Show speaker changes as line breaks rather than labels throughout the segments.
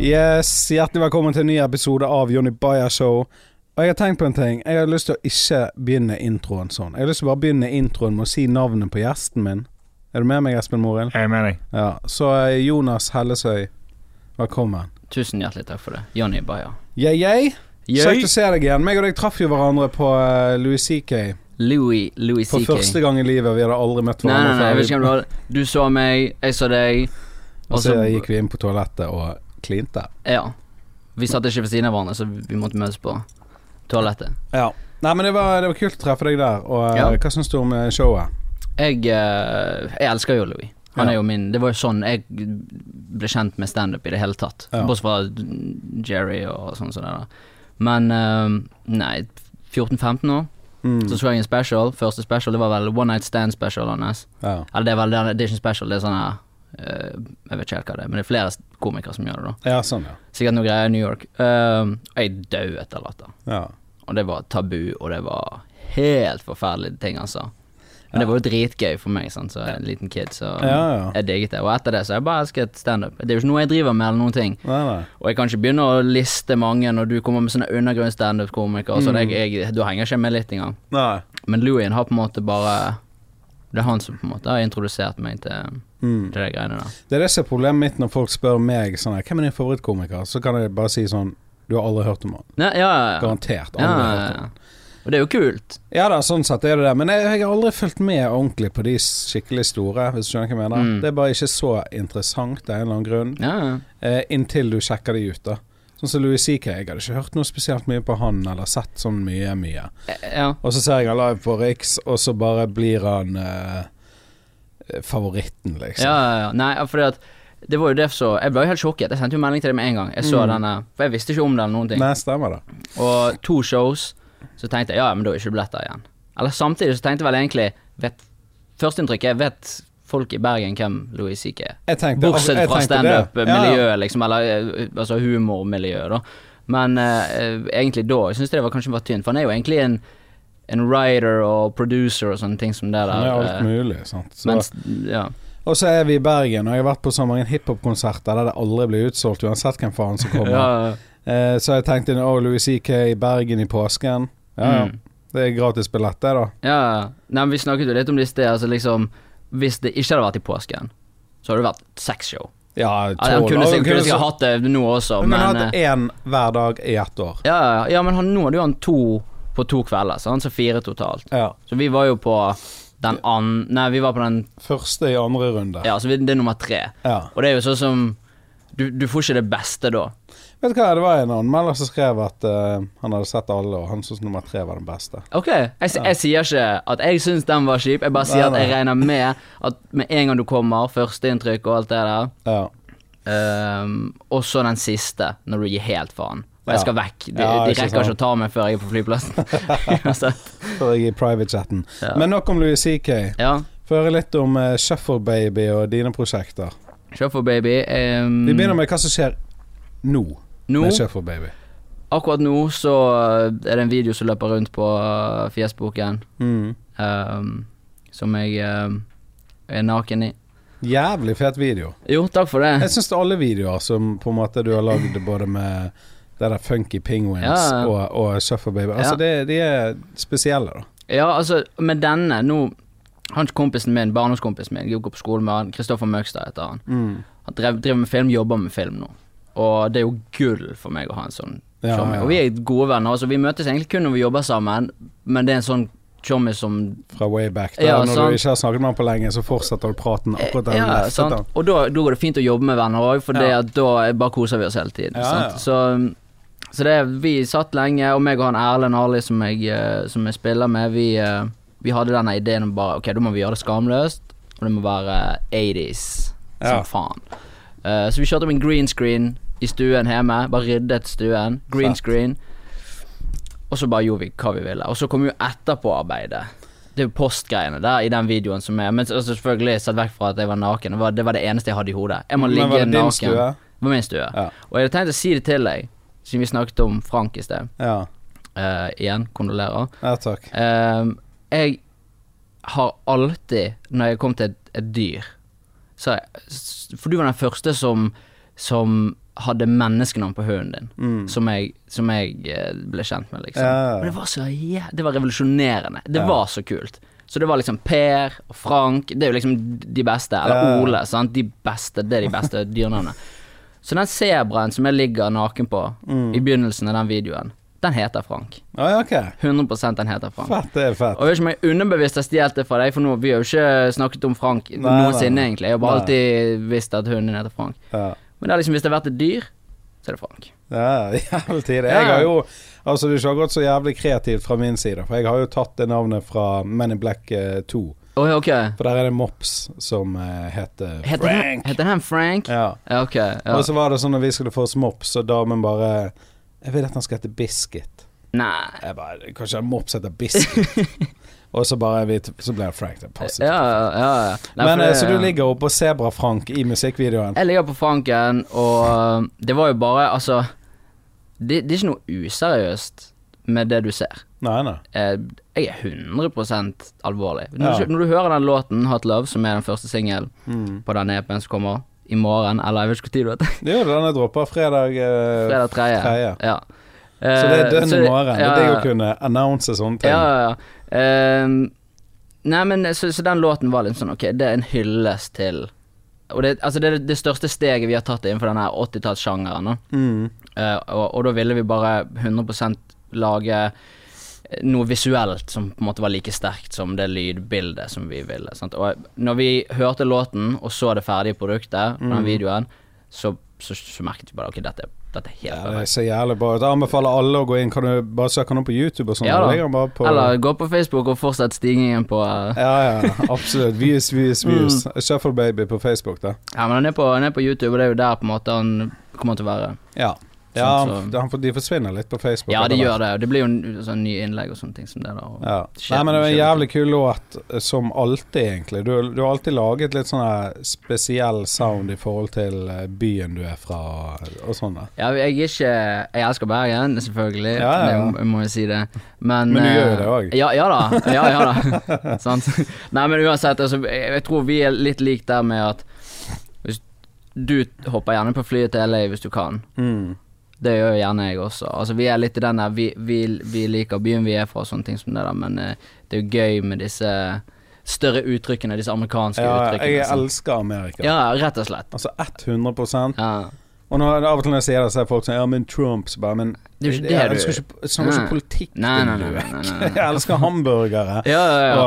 Yes, Hjertelig velkommen til en ny episode av Jonny Bayer Show. Og Jeg har tenkt på en ting. Jeg har lyst til å ikke begynne introen sånn. Jeg har lyst til å bare begynne introen med å si navnet på gjesten min. Er du med meg, Espen Morild?
Jeg er med deg.
Ja. Så eh, Jonas Hellesøy, velkommen.
Tusen hjertelig takk for det. Jonny Bayer.
Yeah, yeah.
Yay.
Kjekt å se deg igjen. Meg og deg traff jo hverandre på eh, Louis CK.
Louis, Louis
For
CK.
første gang i livet. Vi hadde aldri møtt
Nei, nei,
hverandre
nei, jeg vet ikke hvem du var. Du så meg, jeg så deg.
Og så
altså-
gikk vi inn på toalettet og klinte.
Ja. Vi satt ikke ved siden av hverandre, så vi måtte møtes på toalettet.
Ja. Nei, men det var, det var kult å treffe deg der. Og eh,
Ja.
hva syns du om eh, showet?
Jeg, eh, jeg elsker jo Louis. Han
Ja.
er jo min Det var jo sånn jeg ble kjent med standup i det hele tatt.
Ja.
Bortsett fra Jerry og sånn som det der. Men eh, nei, 14-15 år,
Mm.
så så jeg en special. Første special, det var vel One Night Stand special hans.
Ja.
Eller det er vel det, det er ikke en special, det er sånn her eh, Jeg vet ikke helt hva det er, men det er flere komikere som gjør det, da.
ja, sånn, ja.
Sikkert noe greier i New York. Um, og jeg døde etter latter.
ja.
Og det var tabu, og det var helt forferdelige ting han sa. Men det var jo dritgøy for meg, sant, så jeg er en liten kid, så
Ja, ja.
jeg digget det. Og etter det så har jeg bare elsket standup. Det er jo ikke noe jeg driver med, eller noen ting.
Nei, nei.
Og jeg kan ikke begynne å liste mange når du kommer med sånne undergrunns-standup-komikere, så
Mm.
det, jeg, jeg, du henger ikke med litt engang.
nei.
Men Louien har på en måte bare Det er han som på en måte har introdusert meg til,
Mm.
til de greiene der.
Det er det som er problemet mitt når folk spør meg sånn her, hvem er din favorittkomiker, så kan jeg bare si sånn du har aldri hørt om han.
Nei, ja, ja, ja.
Garantert. Aldri
ja,
hørt
ja,
om han.
ja. Og det er jo kult.
Ja da, sånn sett er det det. Men jeg, jeg har aldri fulgt med ordentlig på de skikkelig store, hvis du skjønner hva jeg mener.
Mm.
Det er bare ikke så interessant av en eller annen grunn,
Ja, ja.
eh, inntil du sjekker de ut, da. Sånn som Louis CK, jeg hadde ikke hørt noe spesielt mye på han, eller sett sånn mye, mye.
ja.
Og så ser jeg han live på Riks, og så bare blir han eh, favoritten, liksom.
Ja, ja, ja. Nei, ja, fordi at det var jo det så Jeg ble jo helt sjokket. Jeg sendte jo melding til deg med en gang. Jeg så denne, for jeg visste ikke om det eller noen ting.
Mm. Nei, stemmer det.
Og to shows, så tenkte jeg ja, men da er det ikke billetter igjen. Eller samtidig så tenkte jeg vel egentlig vet, Førsteinntrykket vet folk i Bergen hvem Louis CK er.
Jeg tenkte, altså,
Bortsett
jeg
fra
tenkte det.
standup-miljøet,
Ja, ja.
liksom, eller eh, altså humormiljøet, da. Men eh, egentlig da Jeg syns det var kanskje var tynt, for han er jo egentlig en, en writer og producer og sånne ting som det
Han
der.
er alt
eh,
mulig, sant. Så.
mens, ja.
og så er vi i Bergen, og jeg har vært på så mange hiphop-konserter der det aldri blir utsolgt, uansett hvem faen som kommer.
ja.
eh, så jeg tenkte å, Louis CK i Bergen i påsken. Ja, ja.
Mm.
Det er gratis billett, det, da.
Ja, nei, men vi snakket jo litt om det i sted. Altså liksom, hvis det ikke hadde vært i påsken, så hadde det vært sexshow.
Ja,
Ja, han
tolv.
kunne
Han
sikkert kunne sikkert
så-
hatt det nå også,
Men
men,
han har hatt
eh,
én hver dag i ett år.
ja, ja, ja, men han, nå hadde jo han to på to kvelder, så han så fire totalt.
Ja.
Så vi var jo på den andre Nei, vi var på den
Første i andre runde.
Ja, så vi, det er nummer tre.
ja.
Og det er jo sånn som du, du får ikke det beste da.
Vet du hva, det var en anmelder som skrev at eh, han hadde sett alle, og han syntes nummer tre var den beste.
Ok, jeg, s- jeg sier ikke at jeg syns den var kjip, jeg bare
Nei,
sier at jeg
nei.
regner med at med en gang du kommer, førsteinntrykk og alt det der,
Ja.
Ehm, og så den siste, når du gir helt faen. Og
Ja.
jeg skal vekk. De,
Ja,
de
ikke
rekker ikke
sant.
å ta meg før jeg er på flyplassen. Uansett.
Før jeg i private-chatten.
Ja.
Men nok om Louis CK.
Ja.
Få høre litt om eh, Shuffle Baby og dine prosjekter.
Shuffle Baby. ehm,
Vi begynner med hva som skjer nå
nå,
med Shuffle Baby.
akkurat nå så eh, er det en video som løper rundt på eh, Facebooken,
Mm.
ehm, som jeg ehm, er naken i.
Jævlig fet video.
Jo, takk for det.
Jeg syns det er alle videoer som på en måte du har lagd både med det der Funky Penguins
Ja, ja.
og, og Shuffle Baby. Altså,
Ja.
det, de er spesielle, da.
Ja, altså, med denne nå Han kompisen min, barndomskompisen min, jeg gikk på skolen med han, Kristoffer Møgstad heter han. Han drev, driver med film, jobber med film nå. Og det er jo gull for meg å ha en sånn
Ja,
chommy.
ja.
Og vi er gode venner, altså. Vi møtes egentlig kun når vi jobber sammen, men det er en sånn chommy som
Fra way back. Da,
Ja,
når
sant.
du ikke har snakket med han på lenge, så fortsetter du praten akkurat der du
Eh, ja,
leftet
sant?
han.
Og da, da går det fint å jobbe med venner òg, for det
Ja.
at da er- bare koser vi oss hele tiden.
Ja,
sant? Så, um, så det, vi satt lenge, og meg og han Erlend Arli som, jeg, eh, som jeg spiller med, vi, eh, vi hadde denne ideen om bare Ok, da må vi gjøre det skamløst, og det må være 80s
Ja.
som faen. Eh, så vi kjørte med en green screen i stuen hjemme, bare ryddet stuen. Green
Fett.
screen. Og så bare gjorde vi hva vi ville. Og så kom jo etterpåarbeidet. Det er jo postgreiene der i den videoen som er Men så- altså, selvfølgelig satt vekk fra at jeg var naken. Det var det, var det eneste jeg hadde i hodet. Jeg må
Men
ligge
var det din
naken.
stue?
Det var min stue.
Ja.
Og jeg hadde tenkt å si det til deg, siden vi snakket om Frank i sted.
Ja.
Eh, igjen, kondolerer.
ja, takk.
Ehm, jeg har alltid, når jeg kom til et, et dyr så, For du var den første som, som hadde menneskenavn på hunden din,
Mm.
som jeg, som jeg eh, ble kjent med, liksom.
Ja.
Men det var så jæ- Det var revolusjonerende. Det
Ja.
var så kult. Så det var liksom Per og Frank, det er jo liksom de beste. Eller
Ja.
Ole, sant. De beste, det er de beste dyrenavnene. Så den sebraen som jeg ligger naken på
Mm.
i begynnelsen av den videoen, den heter Frank.
Ah, ja, ok.
100 den heter Frank.
Fett, det er fett.
Og jeg vet ikke om jeg underbevisst har stjålet det fra deg, for nå, vi har jo ikke snakket om Frank
nei,
noensinne,
nei.
egentlig. Jeg har bare
Nei.
alltid visst at hunden din heter Frank.
Ja.
Men det er liksom, hvis det har vært et dyr, så er det Frank.
Ja, hele tiden.
Ja.
Jeg har jo Altså, det er ikke akkurat så jævlig kreativt fra min side, for jeg har jo tatt det navnet fra Men in Black eh, 2.
Oi, ok.
For der er det mops som eh, heter
Heter den,
Frank.
heter den Frank?
Ja.
Ja, ok. Ja.
Og så var det sånn når vi skulle få oss mops, og damen bare Jeg vil at han skal hete Biscuit.
Nei.
Jeg bare Kanskje en mops heter Biscuit? og så bare vi, Så ble det Frank. Det passet.
Ja, ja, ja. Nei, for
Men eh,
det-
Så du ligger oppå Sebra-Frank i musikkvideoen?
Jeg ligger på Franken, og det var jo bare, altså Det, det er ikke noe useriøst med det du ser.
Nei, nei.
Eh, Jeg er 100 alvorlig.
Ja.
Når, du, når du hører den låten 'Hot Love', som er den første singelen
Mm.
på den EP-en som kommer i morgen, eller jeg vet ikke hvor tid det er,
Det er jo denne droppa fredag eh,
fredag 3.
tredje.
Ja.
Så det er
Eh,
dønn
så
i morgen. Det er
ja,
digg å kunne annonse sånne ting.
Ja, ja, ja. Eh, nei, men så, så den låten var litt sånn Ok, det er en hyllest til Og det, altså, det er det største steget vi har tatt innenfor denne 80-tallssjangeren. nå.
Mm.
Eh, og, og da ville vi bare 100 lage eh, noe visuelt som på en måte var like sterkt som det lydbildet som vi ville. Sant? Og når vi hørte låten og så det ferdige produktet,
Mm.
den videoen, så, så, så merket vi bare ok, dette, dette er helt
Ja, det
perfekt.
ser jævlig bra ut. Jeg anbefaler alle å gå inn. Kan du bare søke han opp på YouTube og sånn?
Ja da.
Det ligger han bare på-
Eller gå på Facebook og fortsett stigningen på eh,
ja, ja, absolutt. Views, views, views.
Mm.
Shuffle Baby på Facebook, da.
Ja, men han er på, han er på YouTube, og det er jo der på en måte han kommer til å være.
Ja. ja
Sånn,
han,
så-
han, de forsvinner litt på Facebook.
Ja, de
etter
gjør
hvert.
det. og Det blir jo en- sånn nye innlegg og sånne ting som det der. Og,
Ja.
Shit,
Nei, men det var en
shit.
jævlig kul låt, eh, som alltid, egentlig. Du, du har alltid laget litt sånn her spesiell sound i forhold til eh, byen du er fra, og sånn. da.
Ja, jeg er ikke Jeg elsker Bergen, selvfølgelig.
Ja, ja, ja.
Det må- må jeg si det. Men,
Men du gjør jo
eh,
det også.
Ja, ja da. Ja, ja da. Sant. Nei, men uansett, altså, jeg, jeg tror vi er litt lik der med at hvis Du hopper gjerne på flyet til LA hvis du kan. Mm. Det gjør jo gjerne jeg også. Altså, vi er litt i den der vi, vi, vi liker byen vi er fra og sånne ting som det der, men eh, det er jo gøy med disse større uttrykkene, disse amerikanske
Ja,
uttrykkene.
jeg
sant?
elsker Amerika.
sånn? Ja, rett og slett.
Altså 100
Ja.
Og når, av og til når jeg sier det, så er folk sånn Ja, men Trump så bare Men
Det er jo ikke
jeg
det du-
elsker ikke, jeg snakker
Nei.
ikke politikk,
Nei, nei,
din
nei, nei,
løk.
nei, nei.
Jeg elsker hamburgere
Ja, ja, ja.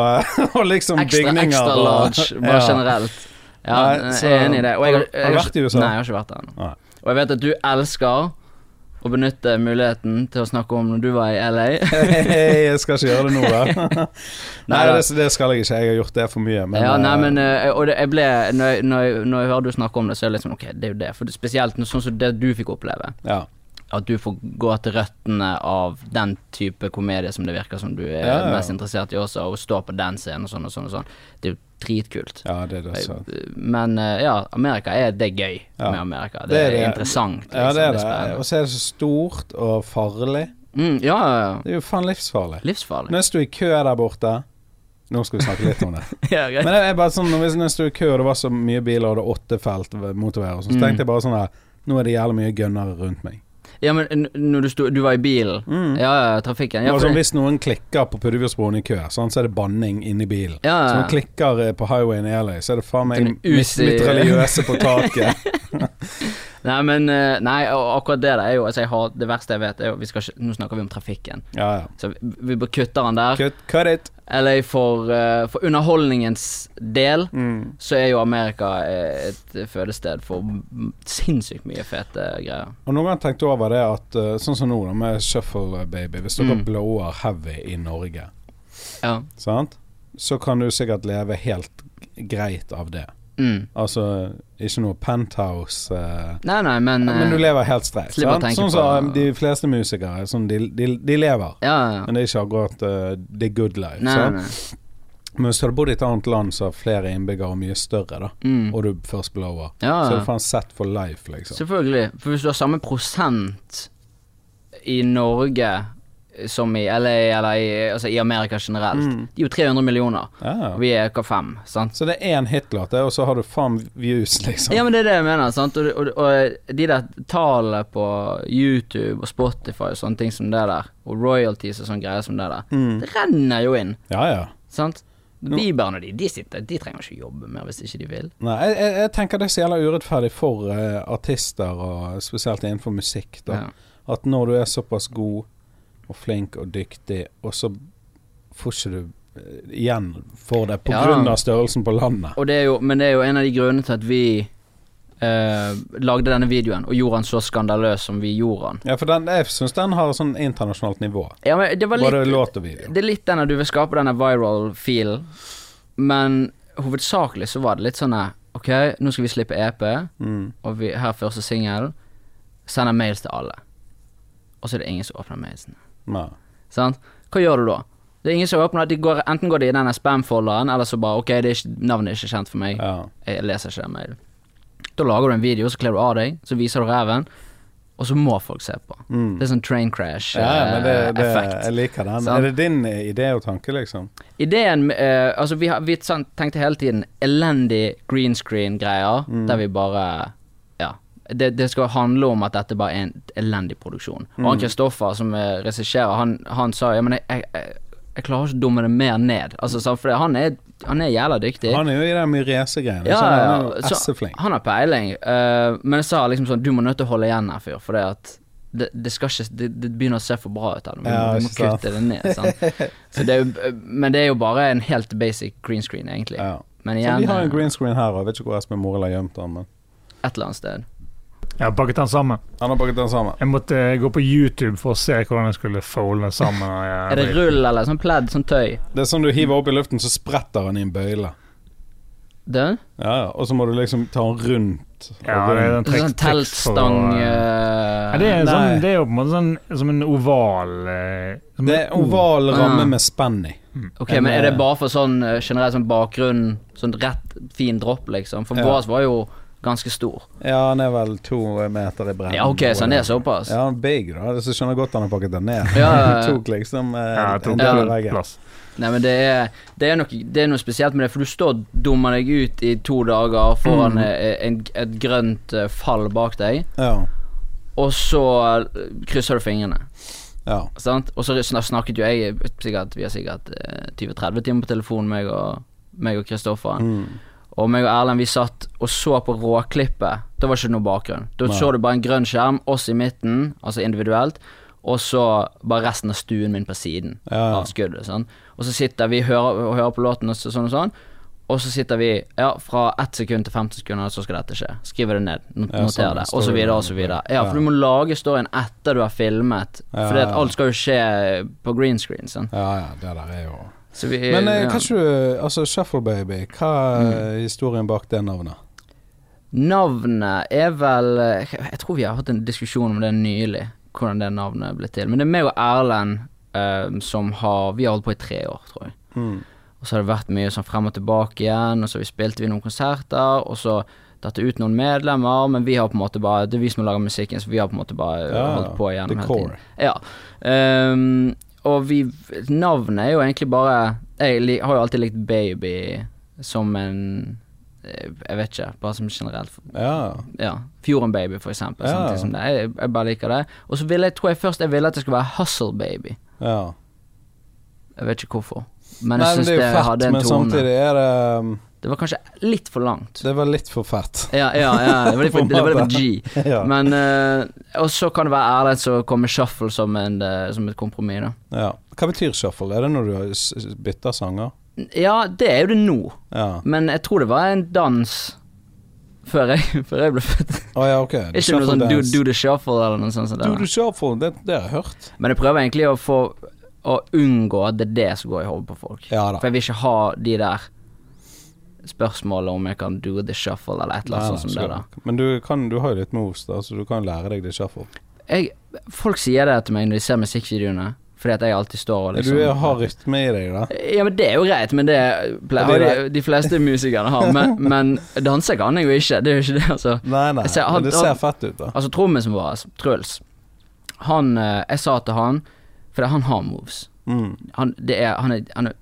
Og, og liksom
Ekstra,
bygninger.
ekstra
og-
large, bare
Ja.
generelt. Ja,
Nei, så-
jeg er enig i det. Og jeg,
Har du- har du vært i USA?
Nei, jeg har ikke vært der ennå.
Nei.
Og jeg vet at du elsker å benytte muligheten til å snakke om når du var i LA.
Hei, jeg skal ikke gjøre det nå, da. nei,
Neida.
det, det skal jeg ikke. Jeg har gjort det for mye. Men,
ja, nei,
eh,
men eh, Og det, jeg ble når jeg, når, jeg, når jeg hører du snakke om det, så er det litt sånn ok, det er jo det. For det, spesielt noe sånn som det du fikk oppleve.
ja.
At du får gå til røttene av den type komedie som det virker som du er
Ja, ja.
mest interessert i også, og stå på den scenen og sånn og sånn og sånn. Det er jo dritkult.
ja, det er det. Så.
Men eh, ja, Amerika er det er gøy
Ja.
med Amerika. Det,
Det er
er
det.
interessant. Liksom.
Ja, det er det.
spennende.
Og så er det så stort og farlig.
Mm, ja, ja, ja.
Det er jo faen livsfarlig.
Livsfarlig.
Når jeg sto i kø der borte Nå skal vi snakke litt om det.
ja, greit.
Men jeg, jeg bare sånn, når vi- når jeg sto i kø, og det var så mye biler, og det var åtte felt ved motorveier, og sånn, så
Mm.
tenkte jeg bare sånn her Nå er det jævlig mye gønnere rundt meg.
ja, men n- når du, sto, du var i bilen. Ja, ja, trafikken. Ja,
Og
for
Mm. sånn,
det-
hvis noen klikker på Puddefjordsbroen i kø, sånn, så er det banning inni bilen.
ja,
Så
ja.
når man klikker eh, på highwayen i LA, så er det faen meg
Sånn
mitt,
usi-
mitt religiøse på taket.
Nei, men eh, nei, og akkurat det der er jo altså, jeg har, Det verste jeg vet, er jo vi skal ikke, Nå snakker vi om trafikken.
Ja, ja.
Så vi, vi bare kutter den der.
Cut, cut it.
Eller for, eh, for underholdningens del
Mm.
så er jo Amerika eh, et fødested for m- sinnssykt mye fete greier.
Og noen gang tenkte jeg over det at eh, sånn som nå, da, med Shuffle eh, Baby Hvis dere
Mm.
blower heavy i Norge,
Ja.
sant, så kan du sikkert leve helt greit av det.
Mm.
Altså ikke noe penthouse eh,
Nei, nei, men,
Ja, Men du
eh,
lever helt streit.
Slipp å
sant?
tenke
Sånn
på-
som de fleste musikere. Sånn, de, de, de lever,
Ja, ja.
men det er ikke akkurat eh, the good life.
Nei, nei,
sant?
nei.
Men hvis du hadde bodd i et annet land som har flere innbyggere og mye større, da,
Mm.
og du først blower, så
Ja,
er
ja.
du faen sett for life, liksom.
Selvfølgelig. For hvis du har samme prosent i Norge som i LA eller i, altså i Amerika generelt. De er jo 300 millioner,
Ja.
og vi er hva fem, sant?
Så det er én hitlåt, det, og så har du faen views, liksom.
Ja, men det er det jeg mener, sant? Og, og, og de der tallene på YouTube og Spotify og sånne ting som det der, og royalties og sånne greier som det der, det renner jo inn,
Ja, ja.
sant? Biberen og de, de sitter, de trenger ikke jobbe mer hvis ikke de vil.
Nei, jeg, jeg, jeg tenker det er så jævla urettferdig for eh, artister, og spesielt innenfor musikk, da.
Ja.
At når du er såpass god og flink og dyktig, og så får ikke du eh, igjen for det på
Ja.
grunn av størrelsen på landet.
Og det er jo, men det er jo en av de grunnene til at vi eh, lagde denne videoen og gjorde den så skandaløs som vi gjorde den.
Ja, for den, jeg syns den har et sånn internasjonalt nivå.
Ja, men det var litt,
Både låt og video.
det er litt denne du vil skape denne viral-filen, men hovedsakelig så var det litt sånn eh, Ok, nå skal vi slippe EP,
Mm.
og vi, her er første singel. Sender mails til alle. Og så er det ingen som åpner mailsene.
Nei.
Sant? Hva gjør du da? Det er ingen som åpner, de går, Enten går de i denne spam-folderen, eller så bare Ok, det er ikke, navnet er ikke kjent for meg.
Ja.
Jeg leser ikke den mailen. Da lager du en video, så kler du av deg, så viser du reven, og så må folk se på.
Mm.
Det er sånn train eh, crash-effekt.
ja, men det, det, jeg liker den.
Sant.
Er det din idé og tanke, liksom?
Ideen eh, Altså, vi, har, vi sånn, tenkte hele tiden elendig green screen-greier,
Mm.
der vi bare Ja. Det, det skal handle om at dette bare er en elendig produksjon. Og
Mm.
han Kristoffer, som eh, regisserer, han, han sa ja, men jeg, jeg, jeg, jeg klarer ikke å dumme det mer ned. Altså, sant, for han er, han er jævla dyktig.
Han er jo i den Myrese-greiene.
Ja,
så han er
ja,
jo
så
esseflink.
Han har peiling, eh, men jeg sa liksom sånn Du må nødt til å holde igjen her, fyr, for det at det, det, skal ikke, det, det begynner å se for bra ut her. Du må,
Ja,
du må
ikke sant.
kutte det ned. Sant? Så det er, jo- men det er jo bare en helt basic green screen, egentlig.
Ja. Så
Men
vi
igjen,
har en
eh,
green screen her, og jeg vet ikke hvor Espen Morild har gjemt den, men
et eller annet sted.
Jeg har pakket den sammen.
han har pakket den sammen.
Jeg måtte eh, gå på YouTube for å se hvordan jeg skulle folde den sammen. og jeg-
Er det rull eller sånn pledd, sånn tøy?
Det er sånn du hiver opp i luften, så spretter han i en bøyle.
Det?
Ja, ja. Og så må du liksom ta han rundt. og
Ja, det er
rundt.
den trekk-
Sånn
trekk for å-
teltstang
Ja, det, er
eh,
sånn,
Nei.
det er jo på en måte sånn, som en oval eh, som
Det
en
er oval ramme
Ja.
med spenn i.
Mm.
Ok, men er det bare for sånn eh, generelt sånn bakgrunn, sånn rett fin dropp, liksom? For
Ja.
vår var jo ganske stor.
Ja, han er vel to meter i bredden.
Ja, ok, så han er såpass.
Ja, han er big, da. Så skjønner jeg godt han har pakket den ned.
Ja, ja, ja.
Han tok liksom eh,
Ja, jeg tok
en del
den
av veggen.
plass.
Nei, men det er, det, er nok, det er noe spesielt med det, for du står og dummer deg ut i to dager foran eh, en, et grønt eh, fall bak deg,
Ja,
og så eh, krysser du fingrene.
ja.
Sant? Og så snak- snakket jo jeg sikkert, Vi har sikkert eh, 20-30 timer på telefonen, meg og, meg og Kristoffer.
Mm.
Og meg og Erlend vi satt og så på råklippet. Da var ikke det noe bakgrunn. Da
Nei.
så du bare en grønn skjerm, oss i midten, altså individuelt, og så bare resten av stuen min på siden
Ja, ja.
av skuddet. Sånn. Og så sitter vi hører, og hører på låten og så- sånn og sånn. Og så sitter vi ja, fra 1 sekund til 15 sekunder, så skal dette skje. Skriver det ned, not-
Ja,
noter
sånn,
det, og så videre og så videre. Ja, for du må lage storyen etter du har filmet,
Ja,
for
ja, ja.
alt skal jo skje på green screen. Sånn.
Ja, ja, det der er jo
Så vi,
Men eh,
ja. Mm.
kanskje du Altså, Shuffle Baby, hva er historien bak det navnet?
Navnet er vel eh, Jeg tror vi har hatt en diskusjon om det nylig, hvordan det navnet ble til. Men det er meg og Erlend eh, som har Vi har holdt på i tre år, tror jeg.
Mm.
Og så har det vært mye sånn frem og tilbake igjen, og så vi spilte vi noen konserter, og så datt det ut noen medlemmer, men vi har på en måte bare Det er vi som lager musikken, så vi har på en måte bare
Ja,
holdt på igjennom
the
hele
core.
tiden. Ja. Ehm, og vi Navnet er jo egentlig bare Jeg li, har jo alltid likt Baby som en eh, Jeg vet ikke, bare som generelt
Ja.
ja, Fjorden Baby, for eksempel.
Ja.
sånne ting som det. Jeg, jeg bare liker det. Og så ville jeg, tror jeg først jeg ville at det skulle være Hustle Baby.
ja.
Jeg vet ikke hvorfor. Men
Nei,
jeg
men
syns
det
det,
er jo fett,
hadde en
men
tone.
samtidig er det um,
Det var kanskje litt for langt.
Det var litt for fett.
Ja, ja, ja. Det var litt for, det var litt for G.
Ja.
Men eh, Og så kan det være ærlighet så kommer shuffle som, en, eh, som et kompromiss, da.
Ja. Hva betyr shuffle? Er det når du s- s- bytter sanger?
Ja, det er jo det nå,
Ja.
men jeg tror det var en dans før jeg, før jeg ble født.
Å ja, ok.
Ikke noe sånn do, do the shuffle eller noe sånt. som det
Do
der.
the shuffle, det, det har jeg hørt.
Men jeg prøver egentlig å få Å unngå at det er det som går i hodet på folk.
Ja da.
For jeg vil ikke ha de der spørsmålene om jeg kan do the shuffle eller et eller
Nei,
annet
nei,
sånt som det
skal-
der.
Men du, kan, du har jo litt moves, da, så du kan lære deg det shuffle.
jeg, Folk sier det til meg når de ser musikkvideoene, fordi at jeg alltid står og liksom
Du er- har rytme i deg, da.
Ja, men det er jo greit, men det pleier
Ja, det er
de, de fleste musikerne har. Men, men danse kan jeg jo ikke, det er jo ikke det, altså.
Nei, nei,
Jeg ser-
men
han-
det
han-
ser fett ut, da.
Altså trommisen vår, Truls, han eh, Jeg sa til han For han har moves.
Mm.
Han, det er, han, er, han er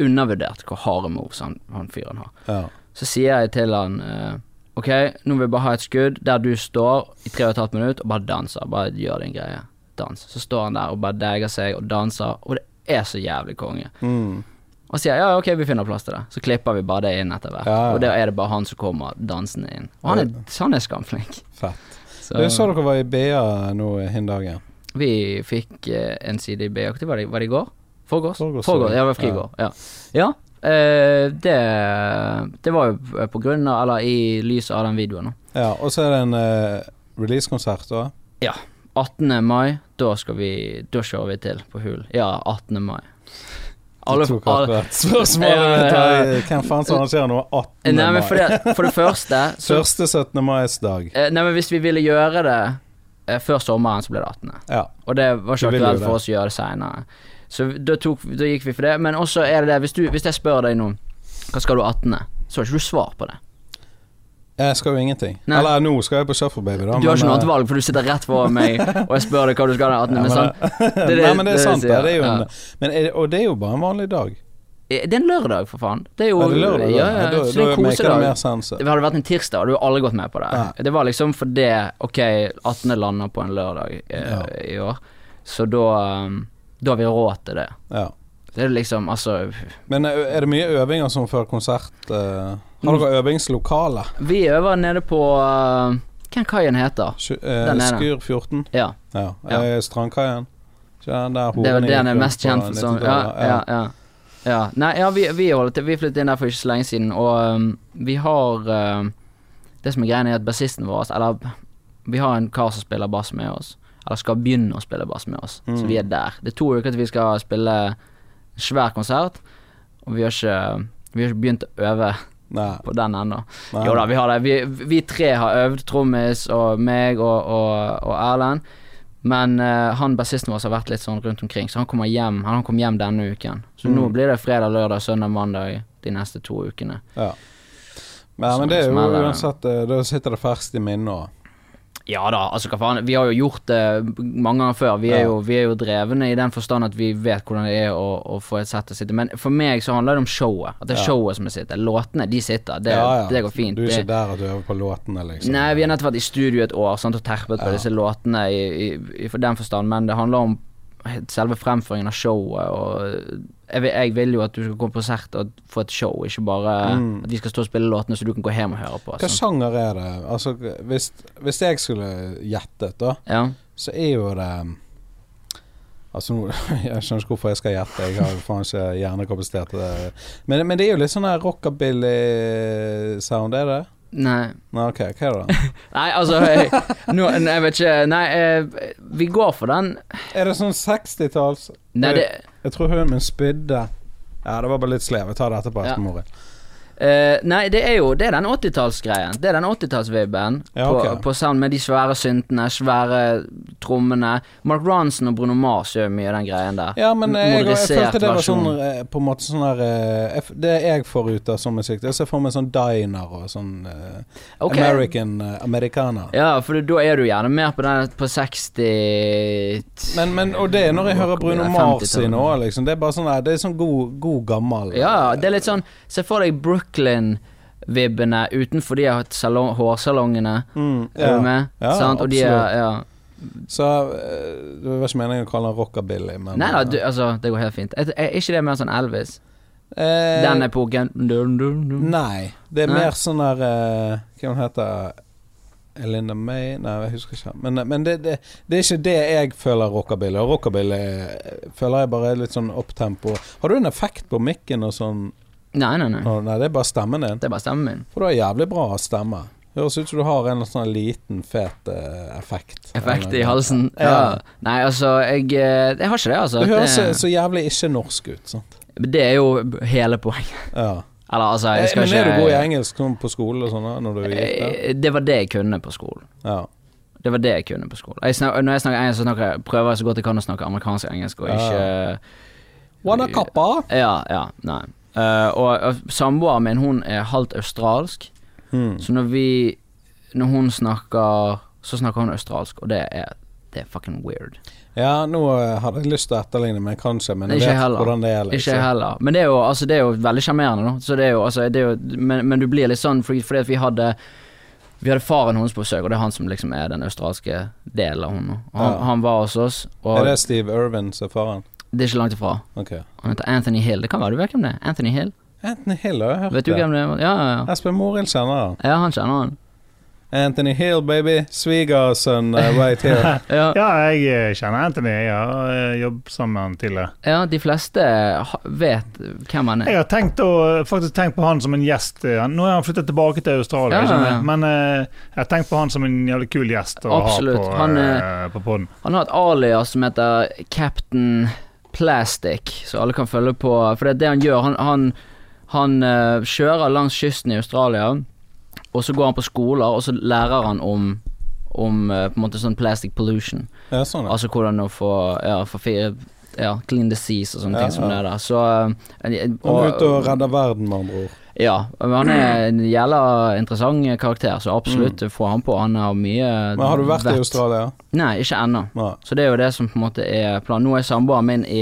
undervurdert hvor harde moves han, han fyren har.
Ja.
Så sier jeg til han eh, Ok, nå vil jeg bare ha et skudd der du står i tre og et halvt minutt og bare danser. Bare gjør din greie. Dans. Så står han der og bare degger seg og danser, og det er så jævlig konge.
Mm.
Og sier ja, ok, vi finner plass til det. Så klipper vi bare det inn etter hvert.
Ja, ja.
Og da er det bare han som kommer dansende inn. Og han er, han er skamflink.
Fett.
Så,
Du så dere var i BA nå hin dagen.
vi fikk eh, en side i BAK. Var det, var det i går? Forgårs?
Forgårs,
Forgårs, ja, det var fri i
ja.
går. Ja. ja eh, det, det var jo på grunn av, eller i lys av den videoen. da.
Ja, og så er det en eh, releasekonsert da.
18. mai, da skal vi Da kjører vi til på Hul. Ja, 18. mai.
Du
Alle,
tok
alle,
akkurat spørsmålet
Ja, ja,
mitt
ja.
her. Hvem faen som arrangerer noe 18.
nei, men for
mai?
det, for det første så,
Første 17. mais dag.
eh, Nei, men hvis vi ville gjøre det eh, før sommeren, så ble det 18.
Ja.
Og det var
Du
ikke
vil jo
aktuelt
det.
for oss å gjøre det seinere. Så da, tok, da gikk vi for det. Men også er det det, hvis, du, hvis jeg spør deg nå Hva skal du 18., så har ikke du svar på det.
Jeg skal jo ingenting.
Nei.
Eller nå skal jeg på Shuffle Baby, da.
Du har ikke noe
eh,
annet valg, for du sitter rett foran meg, og jeg spør deg hva du skal ha den
Ja,
18., men sant?
men,
Det er det-
Nei, men det
det
er
er
sant.
det
da.
jeg sier,
Det er jo en,
ja. Eh,
men er, det- og det er jo bare en vanlig dag.
Det er en lørdag, for faen. Det er jo
Er det lørdag? da?
Ja,
Ja,
ja,
da,
så det er
da
en
maker det
kosedag.
mer sense.
Det hadde vært en tirsdag, og du hadde alle gått med på det.
Ja.
Det var liksom fordi Ok, 18. lander på en lørdag eh,
Ja.
i år, så da um, Da har vi råd til det.
Ja.
Det er liksom, altså
Men eh, er det mye øvinger som før konsert? eh,
Mm.
har dere øvingslokale?
Vi øver nede på uh, Hvem kaien heter?
Sky-
Den
eh,
er det.
Skyr 14?
Ja,
Ja.
Ja.
Eh, Strandkaien? Ikke den der
det er
horen
vel det han
gikk
er
rundt
mest
på
kjent for som. Ja,
1900-tallet?
ja, ja. ja. Nei, ja, vi, vi holder til. Vi flyttet inn der for ikke så lenge siden, og um, vi har um, Det som er greia, er at bassisten vår Eller vi har en kar som spiller bass med oss. Eller skal begynne å spille bass med oss, så
Mm.
vi er der. Det er to uker til vi skal spille svær konsert, og vi har ikke vi har ikke begynt å øve
Nei,
på den ennå.
nei.
Jo da, vi har det. Vi, vi tre har øvd, Trommis og meg og, og, og Erlend. Men eh, han bassisten vår har vært litt sånn rundt omkring, så han kommer hjem Han kom hjem denne uken. Så nå
Mm.
blir det fredag, lørdag, søndag, mandag de neste to ukene.
Ja. Men, men
Som-
det er
som
jo
er det.
uansett eh, Da sitter det ferskt i minnet òg.
Ja da, altså hva faen. Vi har jo gjort det mange ganger før. Vi er,
Ja.
jo, vi er jo drevne i den forstand at vi vet hvordan det er å, å få et sett å sitte. Men for meg så handler det om showet. At det er
Ja.
showet som er sitter. Låtene, de sitter. Det, det går fint.
Du er
Det-
ikke der at du øver på låtene, liksom?
Nei, vi har nettopp vært i studio et år sant, og terpet
Ja.
på disse låtene i, i, i for den forstand, men det handler om selve fremføringen av showet og jeg, vil- jeg vil jo at du skal komme på konsert og få et show, ikke bare
Mm.
at vi skal stå og spille låtene så du kan gå hjem og høre på.
Hva
sant?
sjanger er det? Altså, hvis, hvis jeg skulle gjettet, da,
Ja.
så er jo det um, Altså, nå- jeg skjønner ikke hvorfor jeg skal gjette, jeg har jo faen ikke hjernekapasitet til det. Men, men det er jo litt sånn her rockabilly-sound, er det?
Nei.
Nei, ok, hva er det? da?
Nei, altså jeg, nå, jeg vet ikke Nei, eh, vi går for den.
Er det sånn 60-talls
Nei, det
Jeg tror hunden min spydde. Ja, det var bare litt slev. Jeg tar dette på
Ja.
ettermorgen.
Eh, nei, det er jo Det er den 80-tallsgreien. Det er den 80-tallsvibben
Ja,
på,
ok.
på sound med de svære syntene, svære trommene. Mark Ronson og Bruno Mars gjør mye av den greien der.
Ja, men eh,
M-
jeg, jeg,
modernisert
følte det var sånn
versjon.
eh, På en måte sånn her eh, jeg f- Det jeg får ut av sånn musikk, det er å se for meg sånn diner og sånn eh,
Ok.
American eh, Americana.
Ja, for da er du gjerne mer på den på 60
Men, men, og det er når jeg hører Bruno
Ja,
Mars
50-tallet.
sine òg, liksom. Det er bare sånn her, Det er sånn god, god gammel
Ja, det er litt sånn Se for deg Brooklyn-vibbene utenfor de har hatt salong, hårsalongene.
Mm,
Er du
ja.
med?
Ja,
Sant? Og de
absolutt.
er ja.
Så eh, det var ikke meningen å kalle han rockabilly, men
Nei da, du- altså, det går helt fint. Er, er ikke det mer sånn Elvis?
eh,
Den epoken dun, dun, dun.
Nei. Det er
Nei.
mer sånn her eh, Hva hun heter Linda May Nei, jeg husker ikke. Men, eh, men det, det, det er ikke det jeg føler rockabilly. Og rockabilly eh, føler jeg bare er litt sånn opptempo. Har du en effekt på mikken og sånn?
Nei, nei, nei.
Å, nei, det er bare stemmen din.
Det er bare stemmen min.
For du har jævlig bra stemme. Høres ut som du har en sånn liten, fet eh, effekt.
Effekt i
Eller-
halsen.
Ja.
Ja. Nei, altså, jeg, eh, jeg har ikke det, altså.
Det høres så,
det,
så jævlig ikke norsk ut. Sant?
det er jo b- hele poenget.
Ja.
Eller, altså, jeg
Eh,
skal
Men
ikke
er du god i engelsk sånn på skolen og sånn da, når du gikk der?
Eh, Det var det jeg kunne på skolen.
Ja.
Det var det jeg kunne på skolen. Jeg snak, når jeg snakker engelsk, så snakker jeg, prøver jeg så godt jeg kan å snakke amerikansk engelsk, og
Ja. Ah.
ikke
Wanna ah? kappa?
Ja, ja, nei. Eh, og og samboeren min, hun er halvt australsk,
Hmm.
så når vi Når hun snakker, så snakker hun australsk, og det er det er fucking weird.
Ja, nå eh, hadde jeg lyst til å etterligne meg, kanskje, men jeg
Ikke
vet
heller.
hvordan det er. liksom.
Ikke jeg heller. Men det er jo, altså, det er jo veldig sjarmerende, da. Så det er jo, altså, det er jo, men, men du blir litt sånn fordi, fordi at vi hadde Vi hadde faren hennes på besøk, og det er han som liksom er den australske delen av henne. Og han,
Ja.
han var hos oss, og
Er
det,
det Steve Irvin som er faren?
er ikke langt ifra.
Ok.
Han heter Anthony Hill. Det kan være du vet hvem det er. Anthony Hill.
Anthony Hill har jeg hørt
Vet du
det.
hvem det er? Ja, ja, ja.
Espen Morild kjenner han.
Ja, han kjenner han.
Anthony Hill, baby. Svigersønn uh, right here.
Ja,
Ja, jeg eh, kjenner Anthony. Jeg har eh, jobbet sammen med han tidligere.
ja de fleste ha- vet hvem han er.
Jeg har tenkt å, eh, faktisk tenkt på han som en gjest. eh, han- Nå har han flyttet tilbake til Australia,
Ja,
skjønner
ja.
jeg. men eh, jeg har tenkt på han som en jævlig kul gjest å
Absolutt.
ha på,
Han,
eh, på podden.
Han har et alias som heter Captain Plastic, så alle kan følge på. For det er det han gjør. Han, han, han eh, kjører langs kysten i Australia, og så går han på skoler, og så lærer han om om eh, på en måte sånn plastic pollution.
Ja, sånn, ja.
Altså hvordan å få ja, for fire, ja, clean disease og sånne
Ja,
ting som
ja.
det der. Så eh,
Han er ute og redder verden, med andre ord.
Ja. men Han er en jævla interessant karakter, så absolutt få han på. Han har mye
Mm. Men har du vært i
vett.
Australia?
Nei, ikke ennå.
Nei.
Så det er jo det som på en måte er planen. Nå er samboeren min i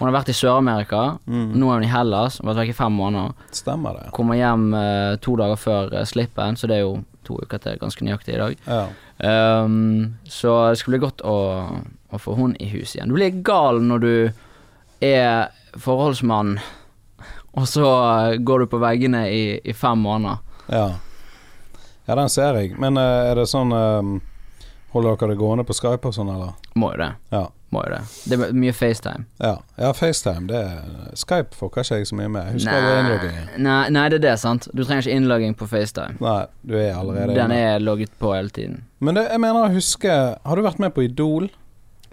Hun har vært i Sør-Amerika, nå er hun i Hellas, hun har vært vekk i fem måneder.
Stemmer det.
Kommer hjem eh, to dager før eh, slippen, så det er jo to uker til, ganske nøyaktig i dag.
Ja.
Ehm, så det skal bli godt å, å få hun i hus igjen. Du blir gal når du er forholdsmann, og så eh, går du på veggene i, i fem måneder.
ja. Ja, den ser jeg. Men eh, er det sånn eh, Holder dere det gående på Skype og sånn, eller?
Må jo det.
Ja.
Må jo det. Det er mye FaceTime.
Ja, ja FaceTime. Det er Skype fucker ikke jeg så mye med. Jeg Husker aldri innloggingen.
nei, nei, det er det, sant. Du trenger ikke innlogging på FaceTime.
Nei, du er allerede
Den
inne.
er logget på hele tiden.
Men det, jeg mener å huske Har du vært med på Idol?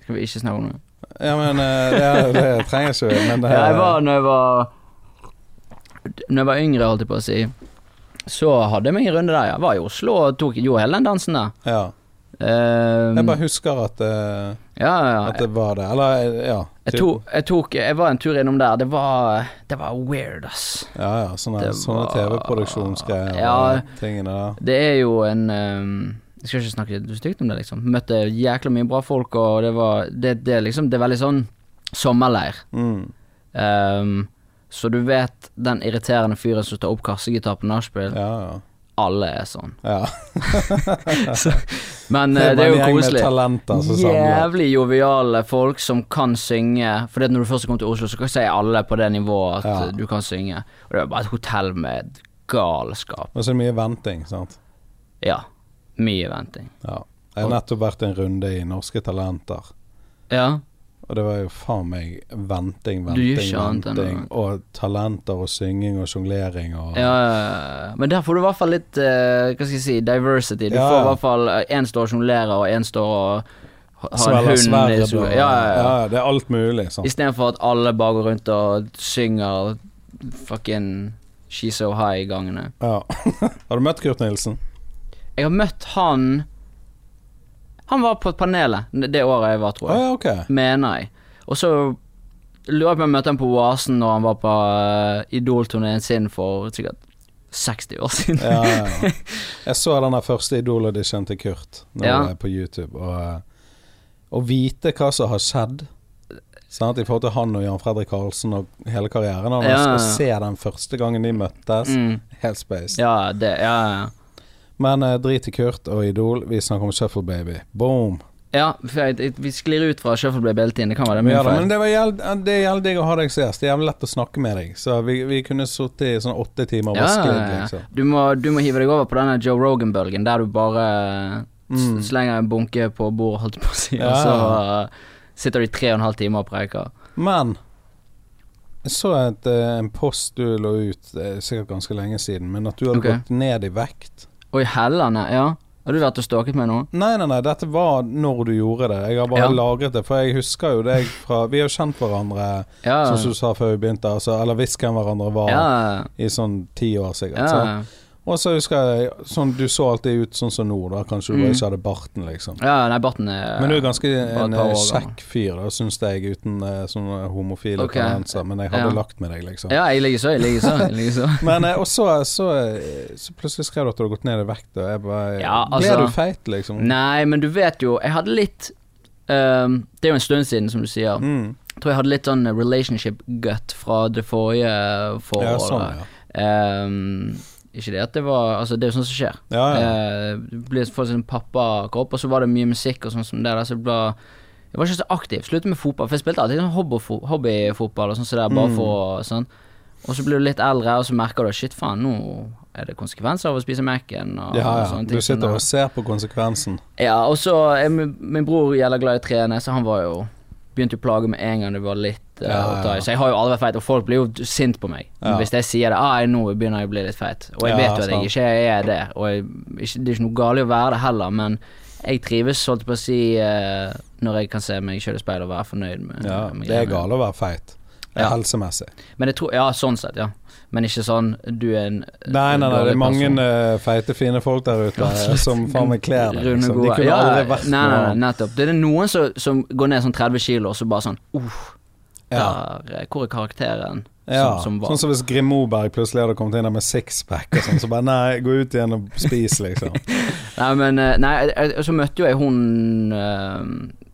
Skal vi ikke snakke om det?
Ja, men eh, det, er- det trenger ikke vi, men det
Ja, jeg var når jeg var Når jeg var yngre, holdt jeg på å si, så hadde jeg meg en runde der, ja. Var i Oslo og tok jo hele den dansen der.
ja.
Ehm,
Jeg bare husker at, eh,
ja, ja.
at
Jeg,
det var det. Eller, eh, ja.
jeg,
typ-
tok, jeg tok Jeg var en tur innom der. Det var Det var weird, ass.
Ja, ja. Sånne,
Det
sånne
var-
TV-produksjonsgreier
Ja.
og tingene der.
Det er jo en ehm, Jeg skal ikke snakke stygt om det, liksom. Møtte jækla mye bra folk, og det var Det, det er liksom Det er veldig sånn sommerleir.
Mm.
Ehm, så du vet den irriterende fyren som tar opp kassegitar på nachspiel?
Ja, ja.
Alle er sånn.
ja.
Så, men
Det
eh,
er
det
bare en
er jo
gjeng med
koselig.
talenter som samler.
Jævlig joviale folk som kan synge. For når du først kom til Oslo, så kan jeg si alle på det nivået at
Ja.
eh, du kan synge. Og det var bare et hotell med galskap.
Og så er det mye venting, sant.
Ja. Mye venting.
Ja. Jeg har nettopp vært en runde i Norske Talenter.
Ja.
Og det var jo faen meg venting,
Du
venting,
gjør ikke annet enn
venting. Og talenter og synging og sjonglering og
ja. Men der får du i hvert fall litt eh, Hva skal jeg si diversity. Du
Ja,
får i
ja.
hvert fall én står og sjonglerer, og én står og ha- har en
svelger
hund. i
sverd
sko-
og
ja, ja, ja.
Det er alt mulig, sant.
Istedenfor at alle bare går rundt og synger fucking She's So High i gangene.
Ja. Har du møtt Kurt Nilsen?
Jeg har møtt han Han var på panelet det året jeg var,
Å
tror jeg.
ja, ok.
Mener jeg. Og så lurer jeg på om jeg møtte han på Oasen når han var på uh, Idol-turneen sin for sikkert 60 år siden.
Ja, ja, ja. Jeg så den der første Idol-audition til Kurt nå
Ja.
eh, på YouTube, og eh, å vite hå som har skjedd sant? I forhold til han og Jan Fredrik Karlsen og hele karrieren hans,
Ja, ja, ja.
og se den første gangen de møttes,
Mm.
helt space.
Ja, det Ja, ja.
Men eh, drit i Kurt og Idol, vi snakker om Shuffle Baby. Boom!
ja for jeg, jeg, vi sklir ut fra Shuffleblade hele tiden. Det kan være det. er
Ja,
Min
da, men
feil.
det var jævlig- det er jævlig digg å ha deg som gjest. Det er jævlig lett å snakke med deg. Så vi, vi kunne sittet i sånn åtte timer og
Ja,
bare sklidd,
ja, ja.
liksom.
Du, må, du må hive deg over på denne Joe Rogan-bølgen, der du bare eh, s-
Mm.
slenger en bunke på bordet, holdt jeg på å si, og
Ja.
så uh, sitter du i tre og en halv time og preiker.
Men jeg så et, eh, en post du lå ut eh, sikkert ganske lenge siden, men at du hadde
Ok.
gått ned i vekt.
Oi, Hellene, ja. Har du vært og stalket meg nå?
Nei, nei, nei, dette var når du gjorde det. Jeg har bare
Ja.
lagret det, for jeg husker jo deg fra Vi har jo kjent hverandre,
Ja.
som du sa før vi begynte, altså, eller visst hvem hverandre var
ja.
i sånn ti år, sikkert. sant?
Ja.
Og så husker jeg sånn, Du så alltid ut sånn som nå, da. Kanskje du
Mm.
bare ikke hadde barten, liksom.
ja, nei, barten er
Men du er ganske
Bare
en
et par
eh,
år
kjekk fyr, da, syns jeg, uten eh, sånne homofile
Ok.
tendenser. Men jeg hadde
Ja.
lagt med deg, liksom.
Ja, jeg ligger så, jeg ligger så. Jeg ligger så.
Men eh, og så, så, eh, så plutselig skrev du at du hadde gått ned i vekt, og jeg bare
Ja, altså-
Ble du feit, liksom?
Nei, men du vet jo, jeg hadde litt ehm, det er jo en stund siden, som du sier.
Mm.
Jeg tror jeg hadde litt sånn relationship gut fra det forrige
Ja,
forholdet.
sånn, ja.
Ehm, ikke det at det var Altså, det er jo sånt som skjer.
Ja, ja.
Eh, Du blir får sin pappakropp, og så var det mye musikk og sånn som det der, så det ble Jeg var ikke så aktiv. Sluttet med fotball, for jeg spilte alltid sånn hobbyfo- hobbyfotball og sånn som det,
Mm.
bare for å- sånn. Og så blir du litt eldre, og så merker du shit, faen, nå er det konsekvenser av å spise Mac-en og,
ja,
og
ja. Du
sånne ting. som
sitter
det.
og ser på konsekvensen.
Ja, og så er min, min bror jævla glad i trene, så han var jo Begynte å plage med en gang det var litt eh,
Ja,
å ta i.
ja.
Så jeg har jo aldri vært feit, og folk blir jo sint på meg
Ja.
hvis jeg sier det. Ah, 'Nå begynner jeg å bli litt feit', og jeg
Ja,
vet jo at jeg
sant.
ikke er det. Og jeg, ikke, det er ikke noe galt i å være det heller, men jeg trives, holdt jeg på å si, eh, når jeg kan se meg sjøl i speilet og være fornøyd med
Ja,
med
det er
greiene.
galt å være feit. Det er
Ja.
Helsemessig.
Men jeg tror Ja, sånn sett, ja. Men ikke sånn du er en
Nei, nei, nei, det
dårlig
er mange
person.
eh, feite, fine folk der ute eh, som faen meg kler deg.
Runde,
Liksom. De
gode.
kunne
Ja,
aldri vært
nei, nei, nei,
noe annet.
nettopp. Det er noen som, som går ned sånn 30 kilo, og så bare sånn Uff,
Ja.
der, eh, hvor er karakteren
Ja,
som, som var?
Sånn som hvis Grim Moberg plutselig hadde kommet inn der med sixpack og sånn, så bare nei, gå ut igjen og spis, liksom.
Nei, men eh, Nei, jeg- jeg- så møtte jo jeg hun eh,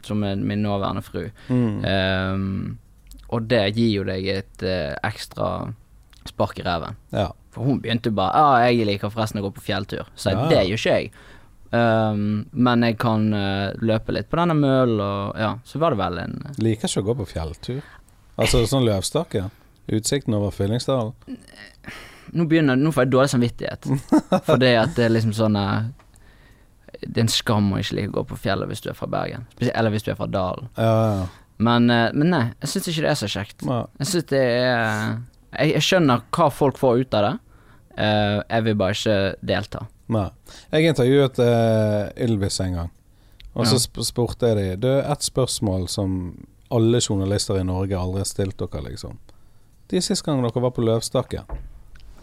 som er min nåværende fru,
Mm.
Eh, og det gir jo deg et eh, ekstra spark i ræven.
Ja.
For hun begynte bare Ja, ah, jeg liker forresten å gå på fjelltur. Så jeg,
Ja.
det gjør ikke jeg. Um, men jeg kan eh, løpe litt på denne mølen, og ja, så var det vel en
Liker ikke å gå på fjelltur. Altså sånn løvstakke. Utsikten over Fyllingsdalen.
Nå begynner Nå får jeg dårlig samvittighet. Fordi at det er liksom sånn eh, Det er en skam å ikke like å gå på fjellet hvis du er fra Bergen. Spesielt- Eller hvis du er fra Dalen.
Ja, ja.
Men, eh, men nei, jeg syns ikke det er så kjekt.
ja.
Jeg syns det er jeg, jeg skjønner hva folk får ut av det. Eh, jeg vil bare ikke delta.
Nei. Jeg intervjuet eh, Ylvis en gang, og så
Ja.
sp spurte jeg de Det er ett spørsmål som alle journalister i Norge aldri har stilt dere, liksom. De sist gang dere var på Løvstakke.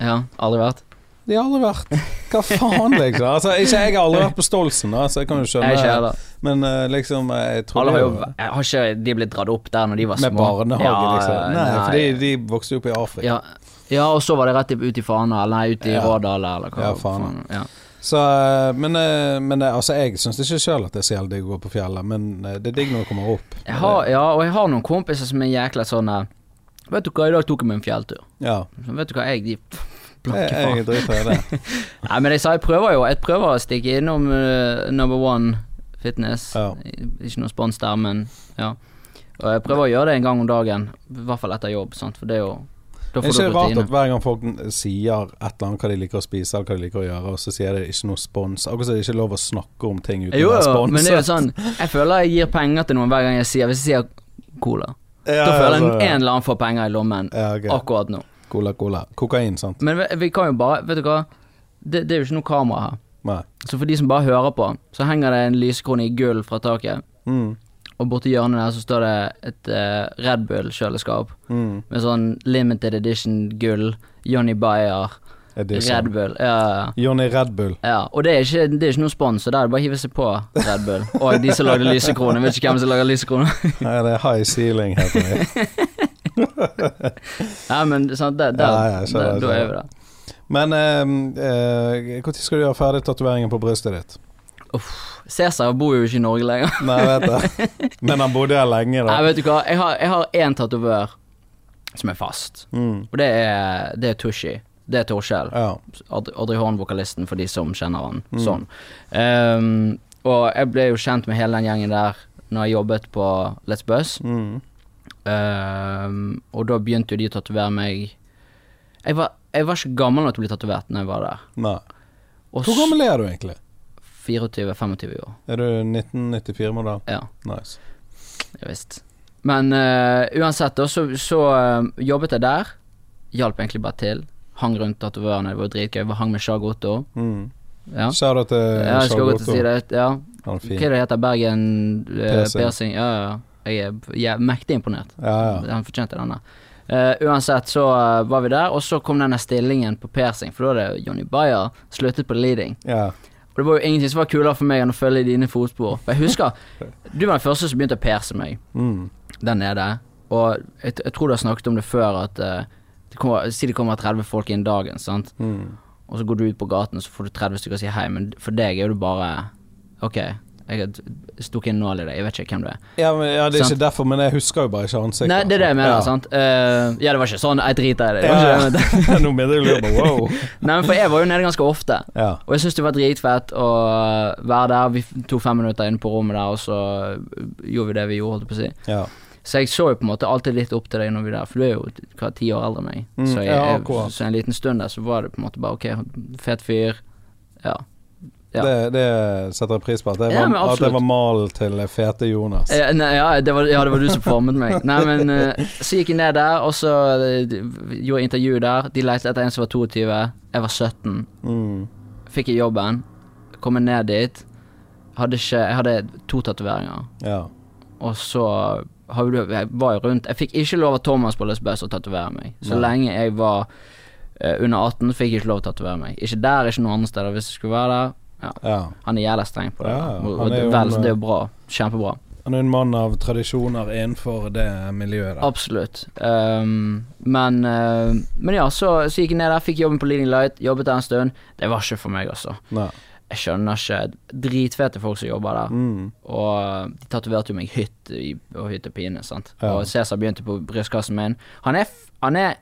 Ja, aldri vært.
De har aldri vært Hva faen, liksom? Altså, ikke jeg har aldri vært på Stolsen, da, så jeg kan jo
Jeg er ikke heller.
skjønne Men eh, liksom, jeg tror
Alle har jo
det var-
jeg har ikke de blitt dratt opp der når de var små.
Med barnehage,
Ja,
liksom. Nei,
nei.
fordi de vokste jo opp i Afrika.
ja. ja, og så var det rett ut i Fana, eller nei, ut i
Ja.
Rådal, eller hva
Ja, Fana.
Ja.
Så, eh, men eh, men eh, altså, jeg syns ikke sjøl at det er så jævlig digg å gå på fjellet, men eh, det er digg når det kommer opp.
Jeg har, ja, og jeg har noen kompiser som er jækla sånn eh, Vet du hva, i dag tok jeg meg en fjelltur.
eh, Ja.
Så vet du hva, jeg de
Jeg,
Blanke faen.
jeg driter i det.
Nei, men jeg sa jeg prøver jo. Jeg prøver å stikke innom eh, number one fitness.
Ja.
Ikke noe spons der, men ja. Og jeg prøver å gjøre det en gang om dagen. I hvert fall etter jobb, sant, for det er jo Da
Det er
får du
ikke rart
rutine.
at hver gang folk n- sier et eller annet hva de liker å spise eller hva de liker å gjøre, og så sier de ikke noe spons. Akkurat som det ikke er lov å snakke om ting uten
Jo,
å være
jo,
sponset.
men det er jo sånn Jeg føler jeg gir penger til noen hver gang jeg sier Hvis jeg sier cola,
Ja,
da føler jeg
altså,
en eller annen får penger i lommen
ja, ok.
akkurat nå.
Cola, cola. Kokain, sant?
Men vi, vi kan jo bare Vet du hva, det, det er jo ikke noe kamera her.
Nei.
Så for de som bare hører på, så henger det en lysekrone i gull fra taket.
Mm,
Og borti hjørnet der så står det et eh, Red Bull-kjøleskap
mm.
med sånn limited edition gull, Johnny Bayer,
Er det
Red
sånn?
Bull. Ja, ja, ja.
Johnny Red Bull.
Ja, og det er ikke, det er ikke noen spons, så der er det bare å hive seg på Red Bull. Og de som lagde lysekroner. Vet ikke hvem som lager lysekroner.
Nei, det er High Ceiling, heter det.
Nei, men sant, der, der,
Ja, ja, jeg skjønner,
der, da
jeg
er vi der.
Men eh, når skal du gjøre ferdig tatoveringen på brystet ditt?
Cæsar bor jo ikke i Norge lenger.
Nei, jeg vet det. Men han bodde her lenge, da.
Nei, vet du hva, jeg har, jeg har én tatovør som er fast,
Mm.
og det er, det er Tushy. Det er Torskjell.
Ja.
Aud- Audrey Horn, vokalisten, for de som kjenner han
Mm.
sånn. Ehm, og jeg ble jo kjent med hele den gjengen der når jeg jobbet på Let's Buzz.
Mm.
Ehm, og da begynte jo de å tatovere meg jeg var, jeg var ikke gammel nok til å bli tatovert når jeg var der.
Nei.
Og
Hvor gammel er du egentlig?
24-25 år.
Er du 1994-modell?
Ja,
Nice.
ja visst. Men eh, uansett, da, så, så eh, jobbet jeg der. Hjalp egentlig bare til. Hang rundt tatovørene, det var dritgøy. Jeg hang med Shag Otto.
Mm.
Ja.
Shout out til
ja, jeg
Charles
skal gå til å
Otto.
si det. Ja.
Han er
Hva
fin.
er det heter Bergen eh,
Piercing.
Piercing? Ja, ja. Jeg er jeg er mektig imponert.
Ja, ja.
Han fortjente denne. Eh, uansett så eh, var vi der, og så kom denne stillingen på piercing, for da hadde Johnny Bayer sluttet på leading.
ja.
Og det var jo ingenting som var kulere for meg enn å følge i dine fotspor. For jeg husker, du var den første som begynte å perse meg
Mm.
der nede, og jeg, jeg tror du har snakket om det før, at eh, det kommer, si det kommer 30 folk inn dagen, sant,
Mm.
og så går du ut på gaten, og så får du 30 stykker og sier hei, men for deg er jo det bare Ok, Jeg har stukket inn nål i det, jeg vet ikke hvem det er.
Ja, men, ja, det er
Sant.
ikke derfor, men jeg husker jo bare ikke ansiktet.
Nei, det er det jeg mener,
Ja.
sant. Eh, ja, det var ikke sånn, jeg driter i det. det,
Ja,
var
ja.
ikke det.
Nå mener jeg jo bare wow.
Nei, men for jeg var jo nede ganske ofte.
Ja.
Og jeg syns det var dritfett å være der. Vi f- tok fem minutter inn på rommet der, og så eh, gjorde vi det vi gjorde, holdt jeg på å si.
ja.
Så jeg så jo på en måte alltid litt opp til deg når vi der, for du er jo hva, ti år eldre enn meg.
Mm,
så, jeg,
ja,
jeg,
akkurat.
så en liten stund der så var det på en måte bare ok, fet fyr. Ja. Ja.
Det, det setter jeg pris på. At jeg
Ja,
var,
men
at jeg
absolutt.
var malen til fete Jonas.
Eh, nei, ja, det var, ja, det var du som formet meg. Nei, men eh, Så gikk jeg ned der, og så eh, gjorde jeg intervju der. De lette etter en som var 22. Jeg var 17.
Mm.
Fikk jeg jobben. Kom jeg ned dit. Hadde ikke Jeg hadde to tatoveringer.
Ja.
Og så har jo du- jeg var jeg rundt Jeg fikk ikke lov av Thomas på Løsbøs å tatovere meg. Så
Nei.
lenge jeg var eh, under 18, fikk jeg ikke lov å tatovere meg. Ikke der, ikke noen andre steder. Hvis jeg skulle være der
ja.
Han er jævla streng på det.
Ja,
da.
ja.
og,
Han
og
er
det,
jo
vel,
en, eh,
så det er jo bra. Kjempebra.
Han er en mann av tradisjoner innenfor det miljøet. der.
Absolutt. Ehm, men, eh, men ja, så, så gikk jeg ned der, fikk jobben på Leading Light, jobbet der en stund. Det var ikke for meg, altså.
Nei.
Jeg skjønner ikke Dritfete folk som jobber der.
Mm.
Og eh, de tatoverte jo meg hytt i, og hytt og pine, sant.
Ja.
Og Cæsar begynte på brystkassen min. Han er, f- han er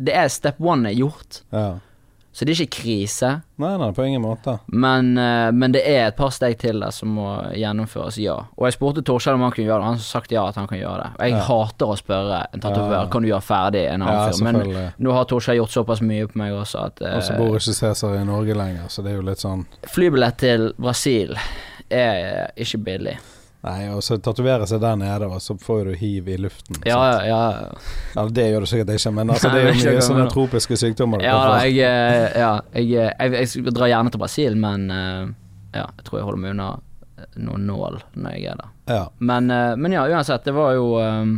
Det er step one er gjort,
Ja.
så det er ikke krise.
Nei, nei, på ingen måte.
Men, eh, men det er et par steg til der som må gjennomføres, ja. Og jeg spurte Torskjell om han kunne gjøre det, han har sagt ja at han kan gjøre det. Og jeg
Ja.
hater å spørre en tatovør
Ja.
kan du gjøre ferdig en annen
Ja,
fyr, men
selvfølgelig.
nå har Torskjell gjort såpass mye på meg også at eh,
Og så bor ikke Cæsar i Norge lenger, så det er jo litt sånn
flybillett til Brasil er ikke billig.
Nei, og så tatovere seg der nede, og så får du hiv i luften.
Ja,
sant?
ja, ja.
Eller det gjør du sikkert ikke, men altså, det er jo
Nei, men jeg
mye
skjønner
sånne
det.
tropiske sykdommer. du
ja,
kan
da,
få.
jeg, eh, ja jeg, eh, jeg, jeg, jeg drar gjerne til Brasil, men eh, ja, jeg tror jeg holder meg unna eh, noen nål når jeg er der.
ja.
Men, eh, men ja, uansett, det var jo ehm,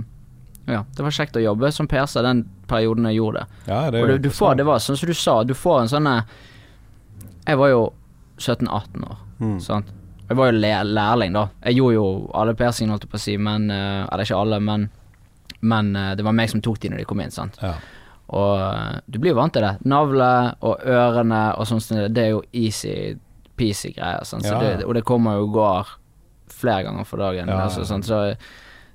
Ja, det var kjekt å jobbe som PC den perioden jeg gjorde det.
ja, det er
Og
jo
du, du får, det var sånn som du sa, du får en sånn eh, Jeg var jo 17-18 år,
Mm.
sant. Jeg var jo læ lærling, da. Jeg gjorde jo alle piercingene, holdt jeg på å si, men eh, Eller ikke alle, men men eh, det var meg som tok de når de kom inn, sant.
sånn. Ja.
Og eh, du blir jo vant til det. Navle og ørene og sånn, sånn, det er jo easy-peasy greier. sant? Så
Ja, ja.
det, og det kommer jo og går flere ganger for dagen.
Ja, ja.
altså, sant? Så,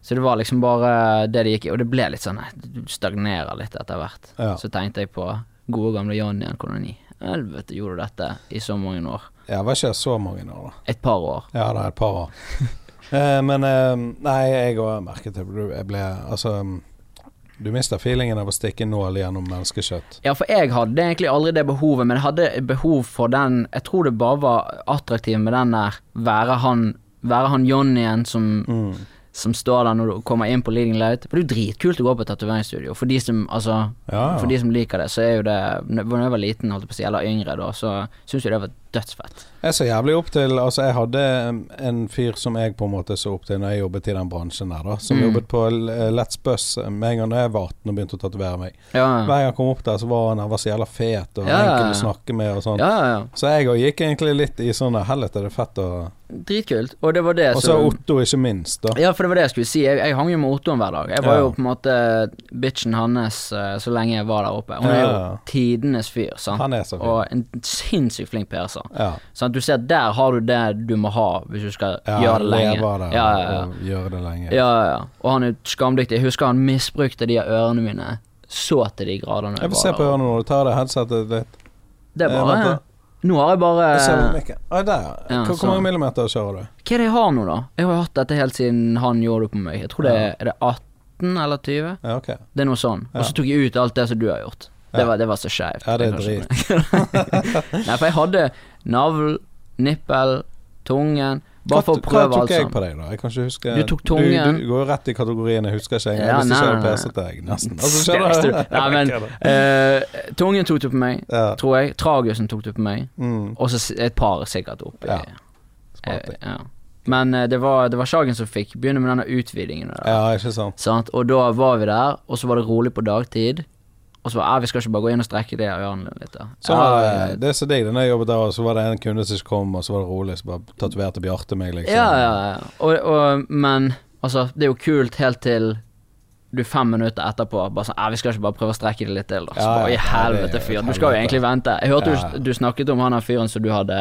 så det var liksom bare det det gikk i. Og det ble litt sånn eh, Du stagnerer litt etter hvert.
Ja.
Så tenkte jeg på gode gamle Johnny og koloni. Helvete, gjorde du dette i så mange år?
Jeg var ikke så mange år, da.
Et par år.
Ja, det er et par år. Eh, men eh, nei, jeg òg merket det. Du- Jeg ble Altså, mm, du mister feelingen av å stikke nål gjennom menneskekjøtt.
Ja, for jeg hadde egentlig aldri det behovet, men jeg hadde behov for den Jeg tror det bare var attraktivt med den der være han, være han Johnnyen som
Mm.
som står der når du kommer inn på Leading Light. For det er jo dritkult å gå på tatoveringsstudio. For de som, altså,
Ah, Ja,
for de
ja.
som liker det, så er jo det Da jeg var liten, holdt jeg på å si, eller yngre, da, så syns jo det var dødsfett.
Jeg så jævlig opp til Altså, jeg hadde eh, en fyr som jeg på en måte så opp til når jeg jobbet i den bransjen der, da. Som
Mm.
jobbet på eh, Let's Buss med en gang da jeg var 18 og begynte å tatovere meg.
Ja, ja,
Hver gang jeg kom opp der, så var han, han var så jævla fet og
Ja, ja,
enkel å
ja.
snakke med og sånn.
ja. ja.
Så jeg òg gikk egentlig litt i sånn Helvete, det er fett å
Dritkult. Og det var det
Og så Otto, ikke minst, da.
Ja, for det var det jeg skulle si. Jeg, jeg hang jo med Ottoen hver dag. Jeg var
Ja.
jo på en måte bitchen hans eh, så lenge jeg var der oppe. Hun er jo
Ja.
tidenes fyr, sant.
Han er så fin.
Og en sinnssykt flink perser.
Ja.
Sant, du ser der har du det du må ha hvis du skal gjøre det lenge.
leve av det
ja, ja, ja.
og gjøre det lenge.
Ja, ja, ja. Og han er skamdyktig. Jeg husker han misbrukte de av ørene mine så til de grader. når
Jeg vil
var
se
der.
på ørene når du tar det headsetet ditt.
Det er
Eh,
bare
vent da.
Nå har jeg bare
Jeg ser på
Hva
mikken. Å, der.
Eh. Ja,
Hvor,
sånn.
hvor mange millimeter kjører du?
er det jeg har nå, da? Jeg har jo hatt dette helt siden han gjorde det på meg. Jeg tror det er, er det 18 eller 20?
Ja, ok.
Det er noe sånn. Og så tok jeg ut alt det som du har gjort. Det
Ja.
var, det var så skeivt.
Ja, det er
Jeg kan ikke- Nei, for jeg hadde navl, nippel, tungen Bare for å
Hva-
prøve
Hva
alt
tok jeg
sammen.
på deg, da? Jeg kan ikke huske
Du tok tungen.
Du, du går jo rett i kategorien jeg husker ikke. Jeg
Ja,
har lyst til
nei,
å kjøre
nei, nei.
pesete, jeg, nesten. Altså, skjønner du?
Nei, men eh, Tungen tok du på meg,
Ja.
tror jeg. Tragusen tok du på meg.
Mm,
Og så s- et par sikkert oppi.
Ja,
Eh,
smart.
ja. Men eh, det var, det var Sagen som fikk begynne med denne utvidingen. Der,
Ja, ikke sant.
sant? Og da var vi der, og så var det rolig på dagtid. Og så var det, vi skal ikke bare gå inn og strekke det og gjøre den litt. Da.
Så var det,
ja,
det er så digg. Da jeg jobbet der, og så var det en kunde som ikke kom, og så var det rolig, så bare tatoverte Bjarte meg, liksom.
ja, ja, ja. Og, og, men altså, det er jo kult helt til du fem minutter etterpå bare sånn «Ah, 'Vi skal ikke bare prøve å strekke det litt til', da. Så
Ja, ja,
bare, I
ja,
helvete,
det er jo
fyr. Du skal jo
helvete.
egentlig vente. Jeg hørte
Ja.
du, du snakket om han her fyren som du hadde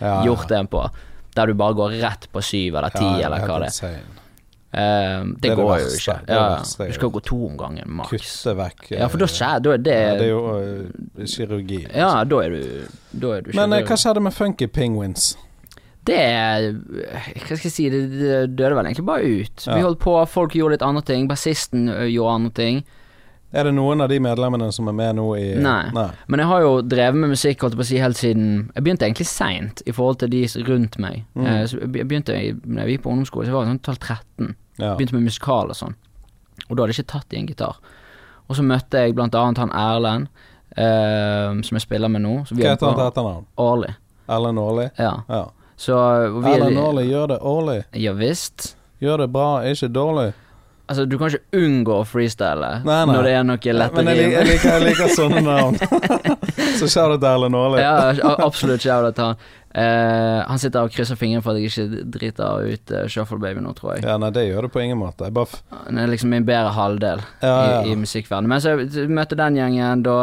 Ja, ja.
gjort det på. der du bare går rett på syv eller ti, eller hva det er. Eh,
er det
det, går jo
verste.
ikke.
Det er
Ja,
det verste jeg
du skal gå to om gangen, maks.
Kutte vekk eh,
Ja, for da skjer da er det
Ja, Det er jo eh, kirurgi.
Ja, da er du Da er du ikke
Men eh,
død.
hva skjedde med Funky Penguins?
Det er- Hva skal jeg si, det, det døde vel egentlig bare ut.
Ja.
Vi holdt på, folk gjorde litt andre ting. Bassisten ø, gjorde andre ting.
Er det noen av de medlemmene som er med nå i
Nei. Men jeg har jo drevet med musikk holdt jeg på å si, helt siden Jeg begynte egentlig seint i forhold til de s- rundt meg.
Mm.
Eh, Så jeg be- begynte i- Når jeg gikk på ungdomsskole, så var jeg sånn 12-13.
Ja.
Begynte med musikal og sånn. Og da hadde jeg ikke tatt i en gitar. Og så møtte jeg blant annet han Erlend, eh, som jeg spiller med nå. Så vi
Hva
er
heter han til
på
etternavn?
Årlig.
Ellen Aarli?
Ja.
Ja.
Så eh, og vi
Ellen Aarli gjør det årlig.
Ja visst.
Gjør det bra, er ikke dårlig.
Altså, du kan ikke unngå å freestyle
Nei, nei.
når det er noe lett å
Men jeg, lik-
rive.
jeg, liker, jeg liker sånne navn. Så shout out til Ellen Aarli.
Ja, a- absolutt shout out til han. Eh, han sitter og krysser fingrene for at jeg ikke driter ut eh, Shuffle Baby nå, tror jeg.
Ja, nei, det gjør det på ingen måte. Jeg bare f
Han er liksom min bedre halvdel
ja, ja.
i, i musikkverdenen. Men så jeg møtte den gjengen da.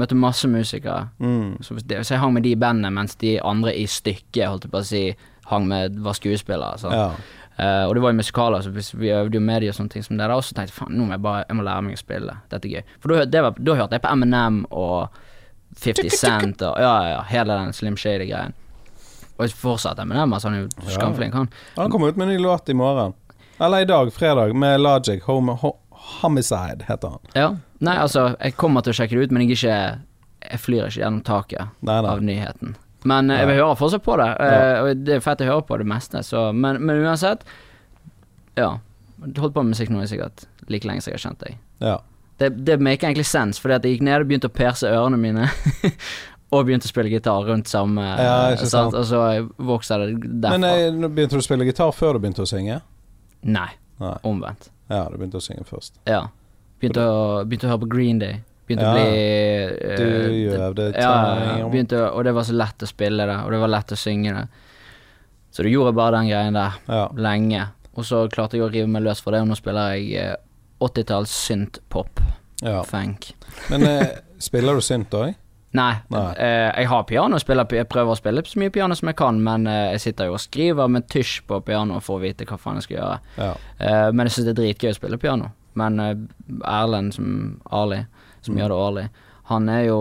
Møtte masse musikere.
Mm.
Så, det, så jeg hang med de i bandet, mens de andre i stykket holdt jeg på å si, hang med, var skuespillere. sant?
Ja.
Eh, og det var jo musikaler, så hvis vi øvde jo med de og sånne ting som det. Da også tenkte jeg faen, nå må jeg bare jeg må lære meg å spille. Dette er gøy. For da hør- det var- da hørte jeg på Eminem og 50 Cent og ja, ja, ja, hele den Slim Shady-greien. Og fortsatt Eminem, altså han er jo skamflink, han.
Han kommer ut med en ny låt i morgen. Eller i dag, fredag, med Logic. Home, ho Homicide heter han.
Ja. Nei, altså, jeg kommer til å sjekke det ut, men jeg er ikke Jeg flyr ikke gjennom taket
Nei,
av
nei.
nyheten. Men eh, jeg vil høre fortsatt på det, eh, og det er fett å høre på det meste, så Men, men uansett, ja. Holdt på med musikk nå i sikkert like lenge som jeg har kjent deg.
Ja.
Det, det maker egentlig sens, fordi at jeg gikk ned og begynte å perse ørene mine. og begynte å spille gitar rundt samme eh,
Ja, ikke sant.
Og så vokste det derfra.
Men eh, nå begynte du å spille gitar før du begynte å synge?
Nei,
Nei.
omvendt.
Ja, du begynte å synge først.
Ja. Begynte å, begynte å høre på Green Day. Begynte
Ja.
å bli eh,
Du gjør det
ja, ja, ja.
time.
begynte, å- Og det var så lett å spille det, og det var lett å synge det. Så du gjorde bare den greien der
Ja.
lenge, og så klarte jeg å rive meg løs fra det, og nå spiller jeg eh, 80-talls synth-pop.
ja.
Funk.
Men eh, spiller du synt òg?
Nei.
Nei.
eh, jeg har piano, spiller, pi- jeg prøver å spille så mye piano som jeg kan, men eh, jeg sitter jo og skriver med tysj på piano for å vite hva faen jeg skal gjøre.
Ja.
Eh, men jeg syns det er dritgøy å spille piano. Men eh, Erlend, som Ali, som
Mm.
gjør det årlig, han er jo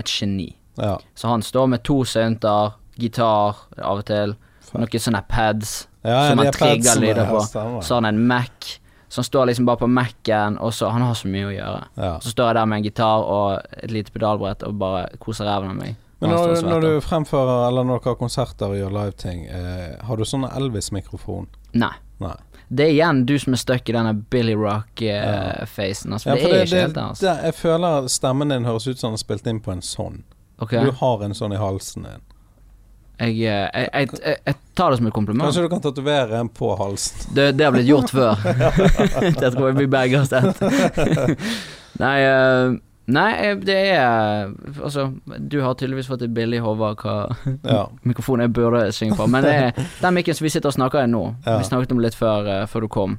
et geni.
ja.
Så han står med to synter, gitar av og til, noen sånne pads
ja
som
de
han
er
trigger
padsene,
lyder
ja,
på.
stemmer.
Så har han en Mac, så han står liksom bare på Mac-en, og så Han har så mye å gjøre.
Ja.
Så står jeg der med en gitar og et lite pedalbrett og bare koser ræven av meg.
Men
Han står
når,
og
når
svetter.
du fremfører eller når dere har konserter og gjør liveting, eh, har du sånn Elvis-mikrofon?
Nei.
Nei.
Det er igjen du som er stuck i denne Billy Rock-facen. altså,
Ja,
det,
for
er
det,
ikke
det,
helt der, altså.
det, jeg føler stemmen din høres ut som den er spilt inn på en sånn.
Ok,
Du
jeg,
har en sånn i halsen din.
eh, jeg, jeg, jeg, jeg tar det som et kompliment.
Kanskje du kan tatovere en på halsen.
Det, det har blitt gjort før. det tror jeg vi begge har sett. nei, eh, nei, eh, det er Altså, du har tydeligvis fått et billig hode av hva
Ja.
mikrofonen jeg burde synge på. Men det er, den mikken som vi sitter og snakker i nå,
Ja.
vi snakket om litt før, eh, før du kom.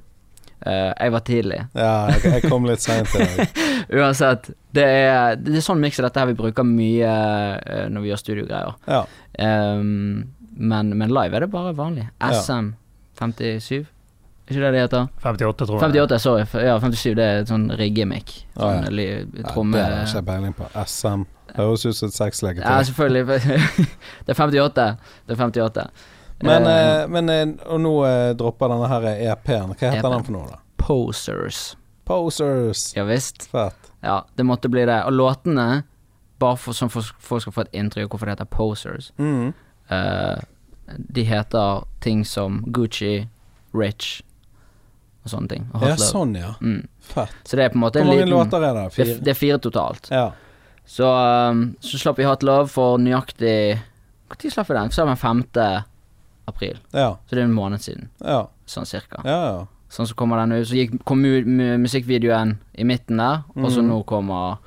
Eh, jeg var tidlig.
Ja, jeg, jeg kom litt seint i dag.
Uansett, det er, det er sånn miks som dette her vi bruker mye eh, når vi gjør studiogreier.
Ja.
Ehm, men, men live er det bare vanlig.
Ja.
SM57? Er ikke det det heter?
58, tror jeg.
58, sorry. F- Ja, 57 det er et sånn riggemic.
Å, ja.
Sånn li-
Nei,
tromme...
Det har jeg ikke peiling på. SM. Høres ut som et
Ja, altså,
sexleketøy.
selvfølgelig. det er 58. Det er 58.
Men,
Ehm,
eh, men eh, Og nå eh, dropper denne her EP-en. Hva heter
EP-en.
den for noe, da?
Posers.
Posers.
Ja visst.
Fett.
Ja, det måtte bli det. Og låtene, bare for, sånn for folk skal få et inntrykk av hvorfor det heter Posers
Mm.
Eh, De heter ting som Gucci, Rich og sånne ting. Og Hot
Ja,
Love.
sånn, ja.
Mm.
Fett.
Så det er på en måte
Hvor
en
mange
liten
låter er det?
det, er-
Fire?
det er fire totalt.
Ja.
Så, um, så slapp vi Hot Love for nøyaktig Når slapp vi den? Så var den 5. april.
Ja.
Så det er en måned siden,
Ja.
sånn cirka.
Ja, ja.
Sånn så kommer den ut. Så gikk, kom mu mu musikkvideoen i midten der, og så
Mhm.
nå kommer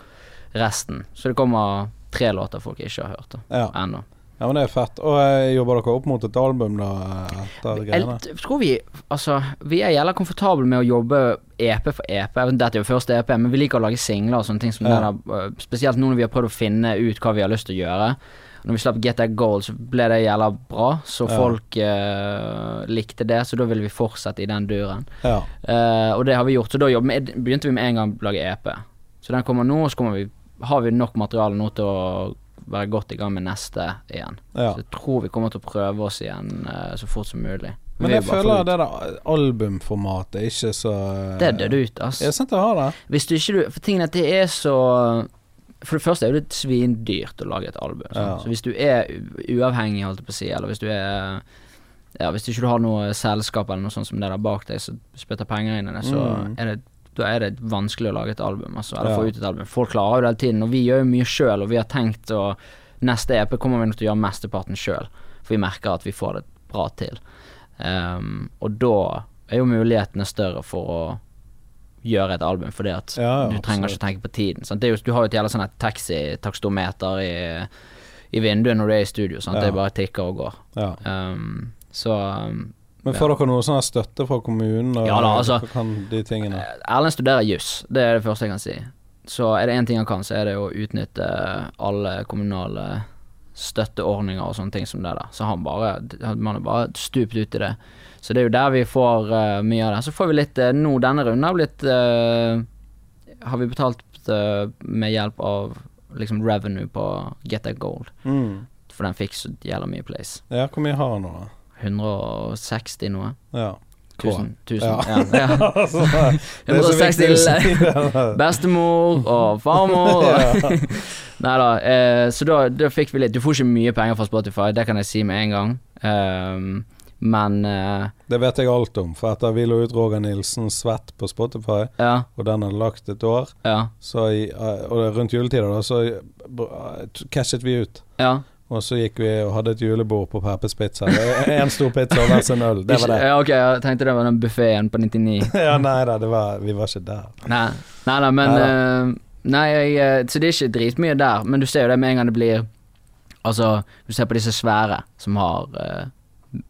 resten. Så det kommer tre låter folk ikke har hørt da,
ja.
ennå.
Ja, men det er fett. Og eh, jobber dere opp mot et album, da? Etter greiene?
Jeg t- tror vi Altså, vi er jævla komfortable med å jobbe EP for E EP. Dette er jo første EP, men vi liker å lage singler og sånne ting som det
Ja.
der. øh, Spesielt nå når vi har prøvd å finne ut hva vi har lyst til å gjøre. Når vi slapp Get That Goal, så ble det jævla bra, så
Ja.
folk øh, likte det. Så da ville vi fortsette i den duren.
Ja.
Eh, og det har vi gjort, så da jobber vi- begynte vi med en gang å lage EP. Så den kommer nå, og så kommer vi, har vi nok materiale nå til å være godt i gang med neste igjen.
ja.
Så jeg tror vi kommer til å prøve oss igjen eh, så fort som mulig.
Men
Vi
jeg
vil bare
føler
få ut-
det der albumformatet er ikke så
Det dør ut, ass.
Ja, sant jeg har det.
Hvis du ikke du For tingen er at det er så For det første er det svindyrt å lage et album. sant?
Ja.
Så hvis du er u- uavhengig, holdt jeg på å si, eller hvis du er Ja, hvis du ikke har noe selskap eller noe sånt som det der bak deg som spytter penger inn i det, så
Mm.
er det da er det vanskelig å lage et album, altså, eller
Ja.
få ut et album. Folk klarer jo det hele tiden, og vi gjør jo mye sjøl, og vi har tenkt å Neste EP kommer vi nok til å gjøre mesteparten sjøl, for vi merker at vi får det bra til. Ehm, og da er jo mulighetene større for å gjøre et album, fordi at
Ja, ja,
du trenger
absolutt.
ikke tenke på tiden. Sant? Det er jo, du har jo et jævla sånn her taxi-takstometer i, i vinduet når du er i studio. Sant?
Ja.
Det bare tikker og går.
Ja.
Ehm, så um,
Men får dere noe sånn her støtte fra kommunen? Og
Ja da, altså.
dere Kan de tingene?
Eh, Erlend studerer juss, det er det første jeg kan si. Så er det én ting han kan, så er det å utnytte alle kommunale støtteordninger og sånne ting som det der. Så han bare Man er bare stupt ut i det. Så det er jo der vi får eh, mye av det. Så får vi litt eh, Nå denne runden har blitt eh, Har vi betalt eh, med hjelp av liksom revenue på Get That Gold.
Mm.
For den fikk så jævla mye place.
Ja, hvor mye har han nå? da?
160 noe.
Ja.
Tusen. tusen
Ja.
ja. Ja.
Altså, det er så viktig å
160
si det.
Bestemor og farmor. Og Nei da, eh, så da, da fikk vi litt Du får ikke mye penger fra Spotify, det kan jeg si med en gang. Ehm, men eh,
Det vet jeg alt om, for etter vi la ut Roger Nilsen Svett på Spotify,
ja,
og den hadde lagt et år,
ja,
så i, eh, og rundt juletider, da, så eh, cashet vi ut.
ja.
Og så gikk vi og hadde et julebord på Peppes Pizza. Én stor pizza og hver sin øl. Det var det.
Ja, ok, jeg tenkte det var den buffeen på 99.
Ja, nei da, det var, vi var ikke der.
Nei, nei da, men eh, Nei, jeg, eh, så det er ikke dritmye der, men du ser jo det med en gang det blir Altså, du ser på disse svære som har eh,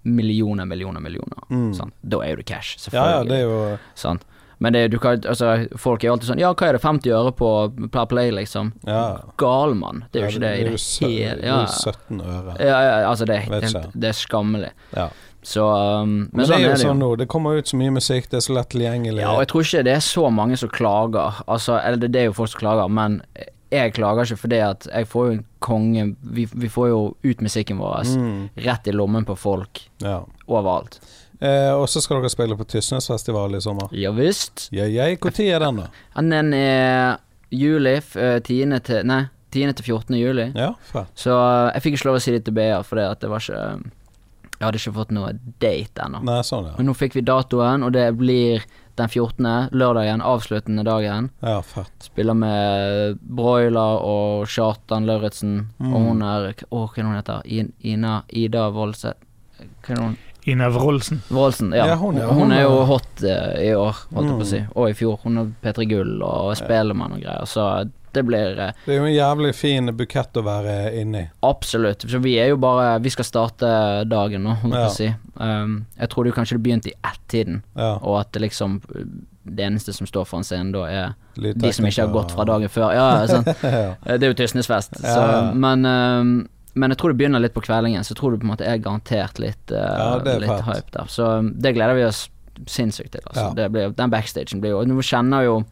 millioner, millioner, millioner.
Mm.
Sant? Da er jo det cash,
Ja
selvfølgelig.
ja, det er jo
Sant? Sånn. Men det, du kan, altså, folk er jo alltid sånn Ja, hva er det 50 øre på per play, liksom?
ja.
Gal mann. Det er jo
Ja,
ikke det i det
sø-
hele
det
ja.
er jo 17 øre.
ja, ja, altså, det er,
Vet
helt,
ikke.
det er skammelig.
Ja.
Så um, Men,
Men det
sånn
er jo
det jo.
sånn nå. Det kommer ut så mye musikk, det er så lett tilgjengelig.
Ja, og jeg tror ikke det er så mange som klager. Altså, eller det, det er jo folk som klager, men jeg klager ikke fordi at jeg får jo en konge Vi, vi får jo ut musikken vår
Mm,
rett i lommen på folk
ja.
overalt.
Eh, og så skal dere spille på Tysnesfestival i sommer.
Ja visst.
Ja, jeg, Når er den, da?
Ja, Den er juli f- eh, 10. til Nei, 10. til 14. juli.
Ja, fett.
Så eh, jeg fikk ikke lov å si det til BA, fordi at det var ikke eh, Jeg hadde ikke fått noe date ennå.
Nei, sånn, ja.
Men nå fikk vi datoen, og det blir den 14., lørdagen, avsluttende dagen.
Ja, fett.
Spiller med Broiler og Kjartan Lauritzen.
Mm.
Og hun er Å, hva er det hun heter? In, Ina Ida Voldseth? Hva er det hun
Inev Rolsen.
Wroldsen, ja.
Ja,
hun,
hun, ja,
hun
hun
er
er-
jo hot eh, i år, holdt jeg på
Mm.
å si. Og i fjor. Hun er P3 Gull og Spelemann og greier. Så det blir eh,
Det er jo en jævlig fin bukett å være inni.
absolutt Så vi er jo bare Vi skal starte dagen nå, holdt jeg på å si. Um, jeg tror det kanskje det begynte i ett-tiden,
Ja,
og at det liksom Det eneste som står foran scenen da, er
litt
de som ikke har
tekniker
gått fra
og-
dagen før. Ja, sant.
ja.
Eh, Det er jo Tysnesfest,
Ja.
så, men, eh, men jeg tror det begynner litt på kveldingen, så jeg tror det på en måte er garantert litt, eh,
Ja, det er
litt
fett.
hype der. Så eh, det gleder vi oss sinnssykt til. Altså.
Ja.
Det blir, den backstagen blir jo og Nå kjenner jo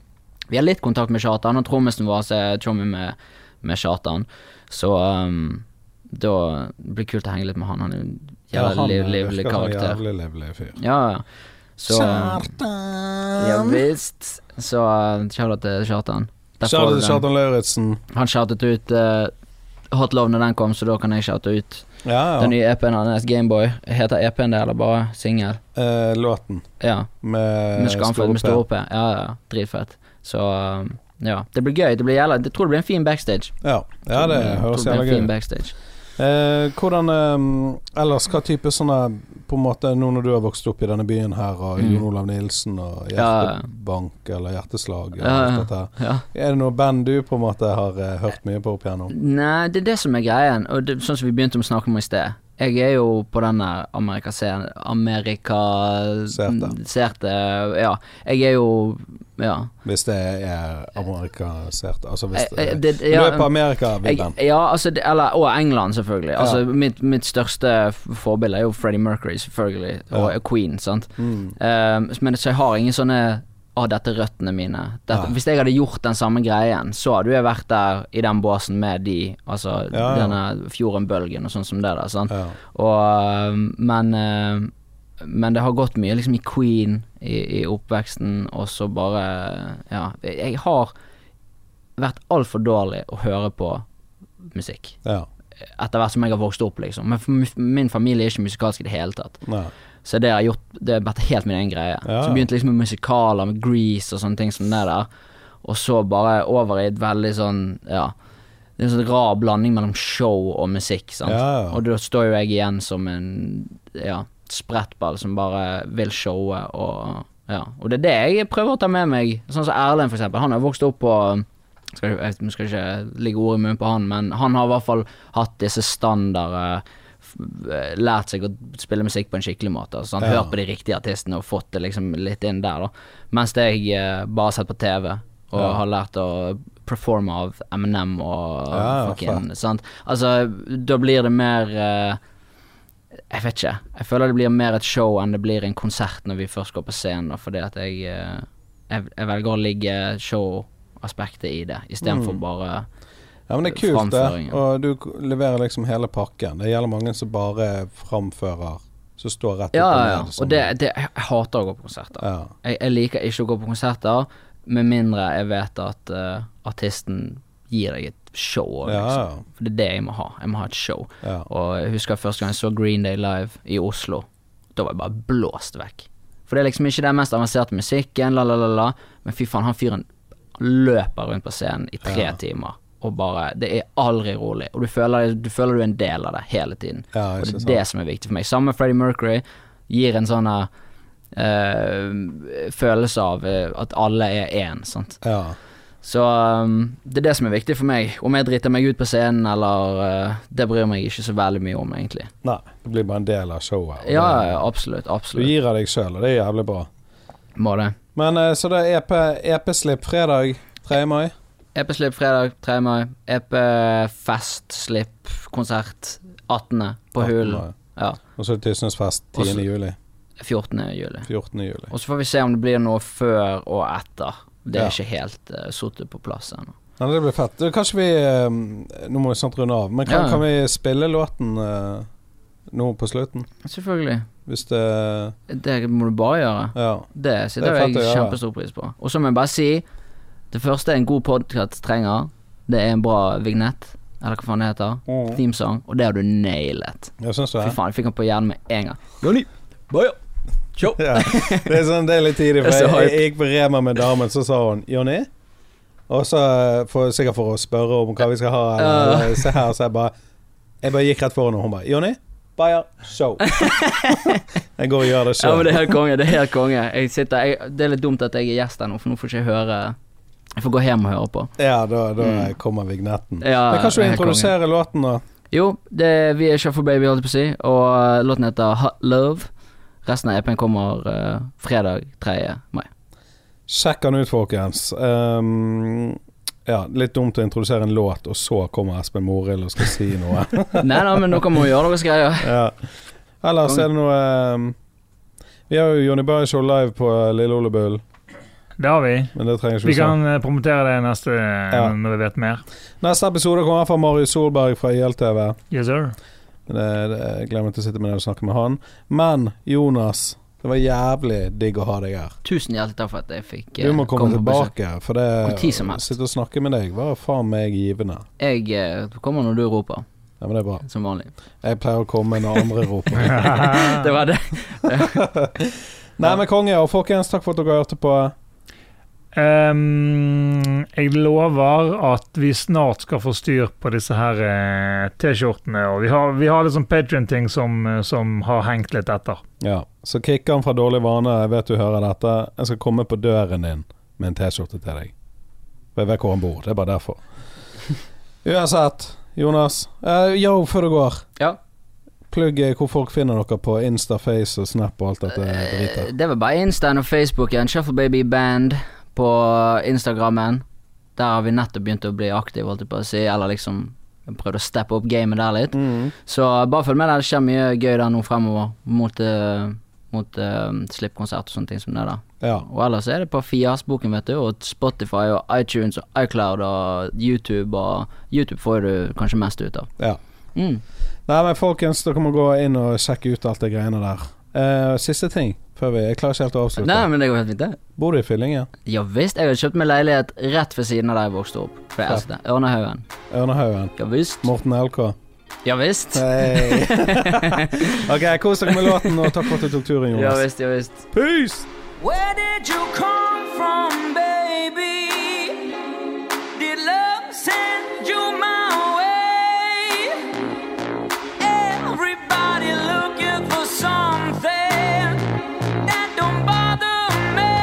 Vi har litt kontakt med Kjartan, og trommisen vår så er chummy med, med Kjartan, så eh, da blir det kult å henge litt med han. Han er en
Ja,
jævla
han eh,
liv-
virker
livlig
som en
karakter.
Jævlig livlig fyr.
Ja, ja. Så ehm, Ja
Kjartan!
visst. Så eh, shout-out til Kjartan. Der får
Kjære til
du den.
Kjartan Lauritzen.
Han shoutet ut eh, Hot Love når den kom, så da kan jeg shoute ut
Ja,
den
ja.
nye EP-en hans, Gameboy. Heter EP-en det, eller bare singel?
Eh, låten
Ja.
med,
Med Skamfeld med
Store
stor P. Ja, ja. Dritfett. Så um, ja. Det blir gøy. Det blir jævla Jeg tror det blir en fin backstage.
P. Ja. ja, det
Jeg tror
høres
blir
jævla
en fin
gøy ut.
backstage.
Eh, hvordan eh, ellers, hva type sånne På en måte nå når du har vokst opp i denne byen her, og
Mm.
Jon Olav Nilsen og
Ja, ja.
Hjertebank eller Hjerteslag og
Ja, ja.
alt dette her.
Ja.
Er det noe band du på en måte har eh, hørt mye på opp igjennom?
Nei, det er det som er greien, og det, sånn som vi begynte å snakke om i sted. Jeg er jo på den der amerikaserte
Serte.
Amerikaserte Ja. Jeg er jo Ja.
Hvis det er amerikanisert Altså hvis
Eh, eh,
det,
det- ja,
Løp Amerika, vil
Jeg,
den.
ja altså, det, eller, og England, selvfølgelig. Altså,
Ja.
mitt, mitt største f- forbilde er jo Freddie Mercury, selvfølgelig, og
Ja.
Queen. sant?
Mm.
Um, men så jeg har ingen sånne Å, dette er røttene mine. Dette,
Nei.
hvis jeg hadde gjort den samme greien, så hadde jeg vært der i den båsen med de, altså
Ja, ja.
denne Fjorden-bølgen og sånn som det der. sant?
Ja.
Og, øhm, men, øhm, men det har gått mye liksom i Queen i, i oppveksten, og så bare Ja. Jeg har vært altfor dårlig å høre på musikk.
ja.
Etter hvert som jeg har vokst opp, liksom. Men f- min familie er ikke musikalsk i det hele tatt.
Nei.
Så det har gjort Det har vært helt min egen greie.
Ja,
Så
ja.
begynte liksom med musikaler, med Grease og sånne ting som det der. Og så bare over i et veldig sånn Ja. Det er en sånn rar blanding mellom show og musikk, sant.
Ja, ja.
Og da står jo jeg igjen som en ja, sprettball som bare vil showe og ja. Og det er det jeg prøver å ta med meg. Sånn som Erlend, for eksempel. Han har vokst opp på skal ikke, Jeg skal ikke ligge ordet i munnen på han, men han har i hvert fall hatt disse standarder f- eh, Lært seg å spille musikk på en skikkelig måte. Altså, han
Ja.
Hørt på de riktige artistene og fått det liksom litt inn der, da. Mens jeg eh, bare har sett på TV og
Ja.
har lært å performe av Eminem og
Ja, ja,
fucking sant? Altså, da blir det mer eh, Jeg vet ikke. Jeg føler det blir mer et show enn det blir en konsert når vi først går på scenen, da, fordi at jeg, eh, jeg Jeg velger å ligge show-aspektet i det, istedenfor
Mm.
bare
Ja, men det er kult, det.
Framføringen.
Og du k- leverer liksom hele pakken. Det gjelder mange som bare framfører, som står rett
Ja,
opp
ja, ja.
ned. som-
Og det, det Jeg hater å gå på konserter.
ja.
Jeg, jeg liker ikke å gå på konserter, med mindre jeg vet at eh, artisten gir deg et show.
Ja,
Liksom.
ja,
For det er det jeg må ha. Jeg må ha et show.
ja.
Og jeg husker første gang jeg så Green Day live i Oslo. Da var jeg bare blåst vekk. For det er liksom ikke den mest avanserte musikken, la, la, la, la. Men fy faen, han fyren løper rundt på scenen i tre
Ja.
timer. Og bare Det er aldri rolig. Og du føler, du føler du er en del av det hele tiden.
ja ikke
Og det
sant.
er det som er viktig for meg. Samme Freddie Mercury gir en sånn eh, eh, følelse av eh, at alle er én, sant.
Ja.
Så um, det er det som er viktig for meg. Om jeg driter meg ut på scenen eller eh, Det bryr meg ikke så veldig mye om, egentlig.
Nei, det blir bare en del av showet. og
Ja, ja,
det-
ja, absolutt.
Du
Absolutt.
gir av deg sjøl, og det er jævlig bra.
Må det.
Men eh, så det er EP, EP-slipp fredag 3. mai.
EP-slipp fredag 3. mai. EP-fest, slipp, konsert 18. på
18.
Hulen.
mai.
Ja.
Og så er det Tysnesfest
Og
10.
så-
juli.
14. juli.
14. juli.
Og så får vi se om det blir noe før og etter. Det er
Ja.
ikke helt uh, sittet på plass ennå.
Nei, det blir fett. Du, Kanskje vi eh, Nå må vi snart runde av, men kan,
Ja, ja.
kan vi spille låten eh, nå på slutten?
Selvfølgelig.
Hvis det
Det må du bare gjøre.
Ja.
Det
Det
setter
er fett å
jeg
gjøre.
kjempestor pris på. Og så må jeg bare si Det første en god podkast trenger, det er en bra vignett, eller hva faen det heter. Themesong. Og det har du nailet.
Jeg syns det.
Fy faen, jeg fikk den på hjernen med en gang.
Ja. Det er sånn det er litt tidlig, for
Jeg er så
jeg,
hype.
jeg gikk på Rema med damen, så sa hun 'Jonny'. Og så eh, for, sikkert for å spørre om hva vi skal ha, eller, eller se her, så jeg bare Jeg bare gikk rett foran henne, og hun bare 'Jonny, Bayer show'. jeg går og gjør det
Ja, men
sjøl.
det er helt konge. Det er helt konge. Jeg sitter, jeg, det er litt dumt at jeg er gjest her nå, for nå får ikke jeg høre Jeg får gå hjem og høre på.
Ja, da, da
Mm.
kommer vignetten.
Ja,
Men kanskje du
det er helt
introduserer låten, da?
Jo, det, vi er Shuffle Baby, holdt jeg på å si, og eh, låten heter Hot Love. Resten av EP-en kommer eh, fredag 3. mai.
Sjekk den ut, folkens. Ehm, ja, litt dumt å introdusere en låt, og så kommer Espen Morild og skal si noe.
Nei da, men dere må gjøre deres greier.
Ja. Ellers er det noe ehm, Vi har jo Jonny Berg Show live på eh, Lille Ole Bull,
Det har vi.
men det trenger ikke
Vi
vi si.
kan eh, promotere det neste eh,
Ja.
når vi vet mer.
Neste episode kommer fra Marius Solberg fra ILTV.
Yes, sir.
Det, det, jeg glemmer ikke å sitte med deg og snakke med han. Men Jonas, det var jævlig digg å ha deg her.
Tusen hjertelig takk for at jeg fikk eh,
Du må komme
på besøk.
tilbake, for det
Hvor tid som
å
helst.
sitte og snakke med deg var faen meg givende.
Jeg eh, kommer når du roper,
Ja, men det er bra.
som vanlig.
Jeg pleier å komme når andre roper.
Det var det.
Nei, men konge, og folkens, takk for at dere hørte på.
Ehm, Jeg lover at vi snart skal få styr på disse her eh, T-skjortene. Og vi har, vi har litt sånn Patrion-ting som, eh, som har hengt litt etter.
Ja. Så kickeren fra dårlige vaner, jeg vet du hører dette. Jeg skal komme på døren din med en T-skjorte til deg. For jeg vet hvor han bor. Det er bare derfor. Uansett, Jonas. eh, yo, før du går.
Ja.
Plugg eh, hvor folk finner dere på Insta, Face og Snap og alt dette dritet.
Eh, Det var bare Instaen og Facebooken. Shuffle Baby Band på Instagrammen. Der har vi nettopp begynt å bli aktive, holdt jeg på å si. Eller liksom prøvd å steppe opp gamet der litt.
Mm.
Så eh, bare følg med der. Det skjer mye gøy der nå fremover mot, eh, mot eh, slippkonsert og sånne ting som det der.
Ja.
Og ellers er det på Fias-boken, vet du, og Spotify og iTunes og iCloud og YouTube og YouTube får du kanskje mest ut av.
ja.
Mm.
Nei, men folkens, dere må gå inn og sjekke ut alt det greiene der. Eh, siste ting før vi Jeg klarer ikke helt å avslutte.
Nei, men det går helt fint, det.
Bor du i Fyllingen?
Ja visst, jeg har kjøpt meg leilighet rett ved siden av der jeg vokste opp. For jeg elsket det. Ørnehaugen.
Ørnehaugen?
Ja visst.
Morten LK?
Ja visst.
Eh, Hei. ok, kos dere med låten, og takk for at du tok turen,
Ja
Jonas.
visst, ja visst.
Peace!
Where did you come from, baby? Did love send you my way? Everybody looking for something that don't bother me.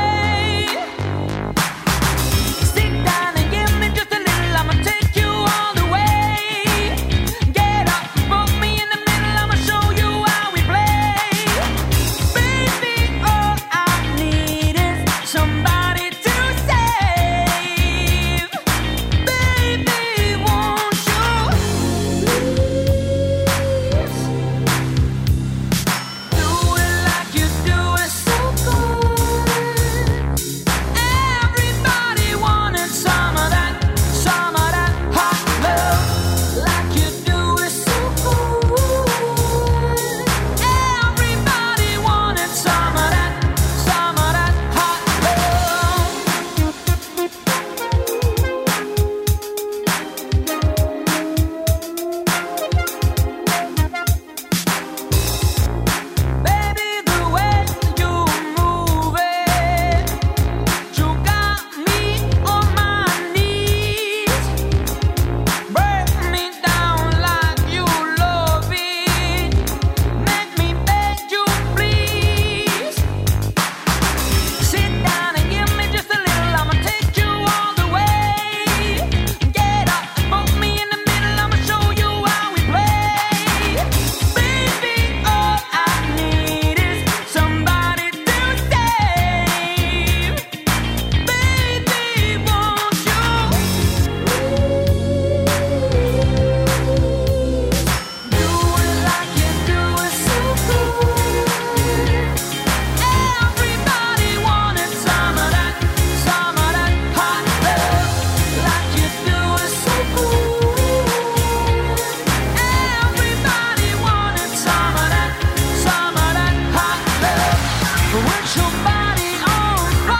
Stick down and give me just a little, I'ma take you all the way. Get up, poke me in the middle, I'ma show you how we play. Baby, all I need is somebody to save. Baby, won't you please do it like you do it so good? Everybody wanted some of that, some of that hot love, like you do it so good. Everybody wanted some of that, some of that hot love. Baby, the way you move it, you got me on my knees. Break me down like you love it. Make me beg you please. Sit down and give me just a little. I'ma take you all the way. Get up and poke me in the middle. I'ma show you how we play. Baby, all I need is somebody to save. Baby, won't you do it like you do it so good? Everybody wanted some of that, some of that hot love, like you do it so good. Everybody wanted some of that, some of that hot love, with your body on fire. I wanna watch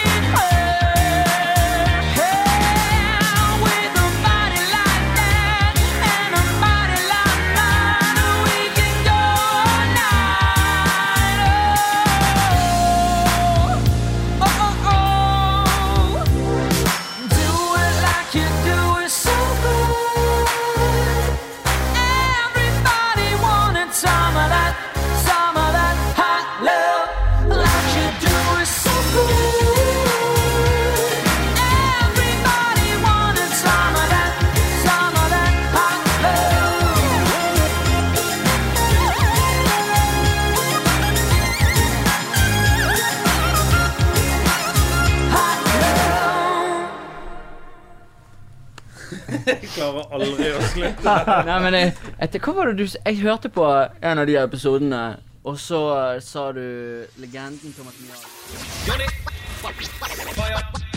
it burn with a body like that and a body like mine. We can go all night. Oh, oh, oh. Do it like you do it so good. Everybody wanted some of that, some of that hot love. Like you do it so good. Everybody wanted some of that, some of that hot love. Hot love.
Klarer aldri å slutte.
Nei, men jeg, etter, hva var det du s- Jeg hørte på en av de episodene, og så eh, sa du legenden Thomas Miahl.
Fire.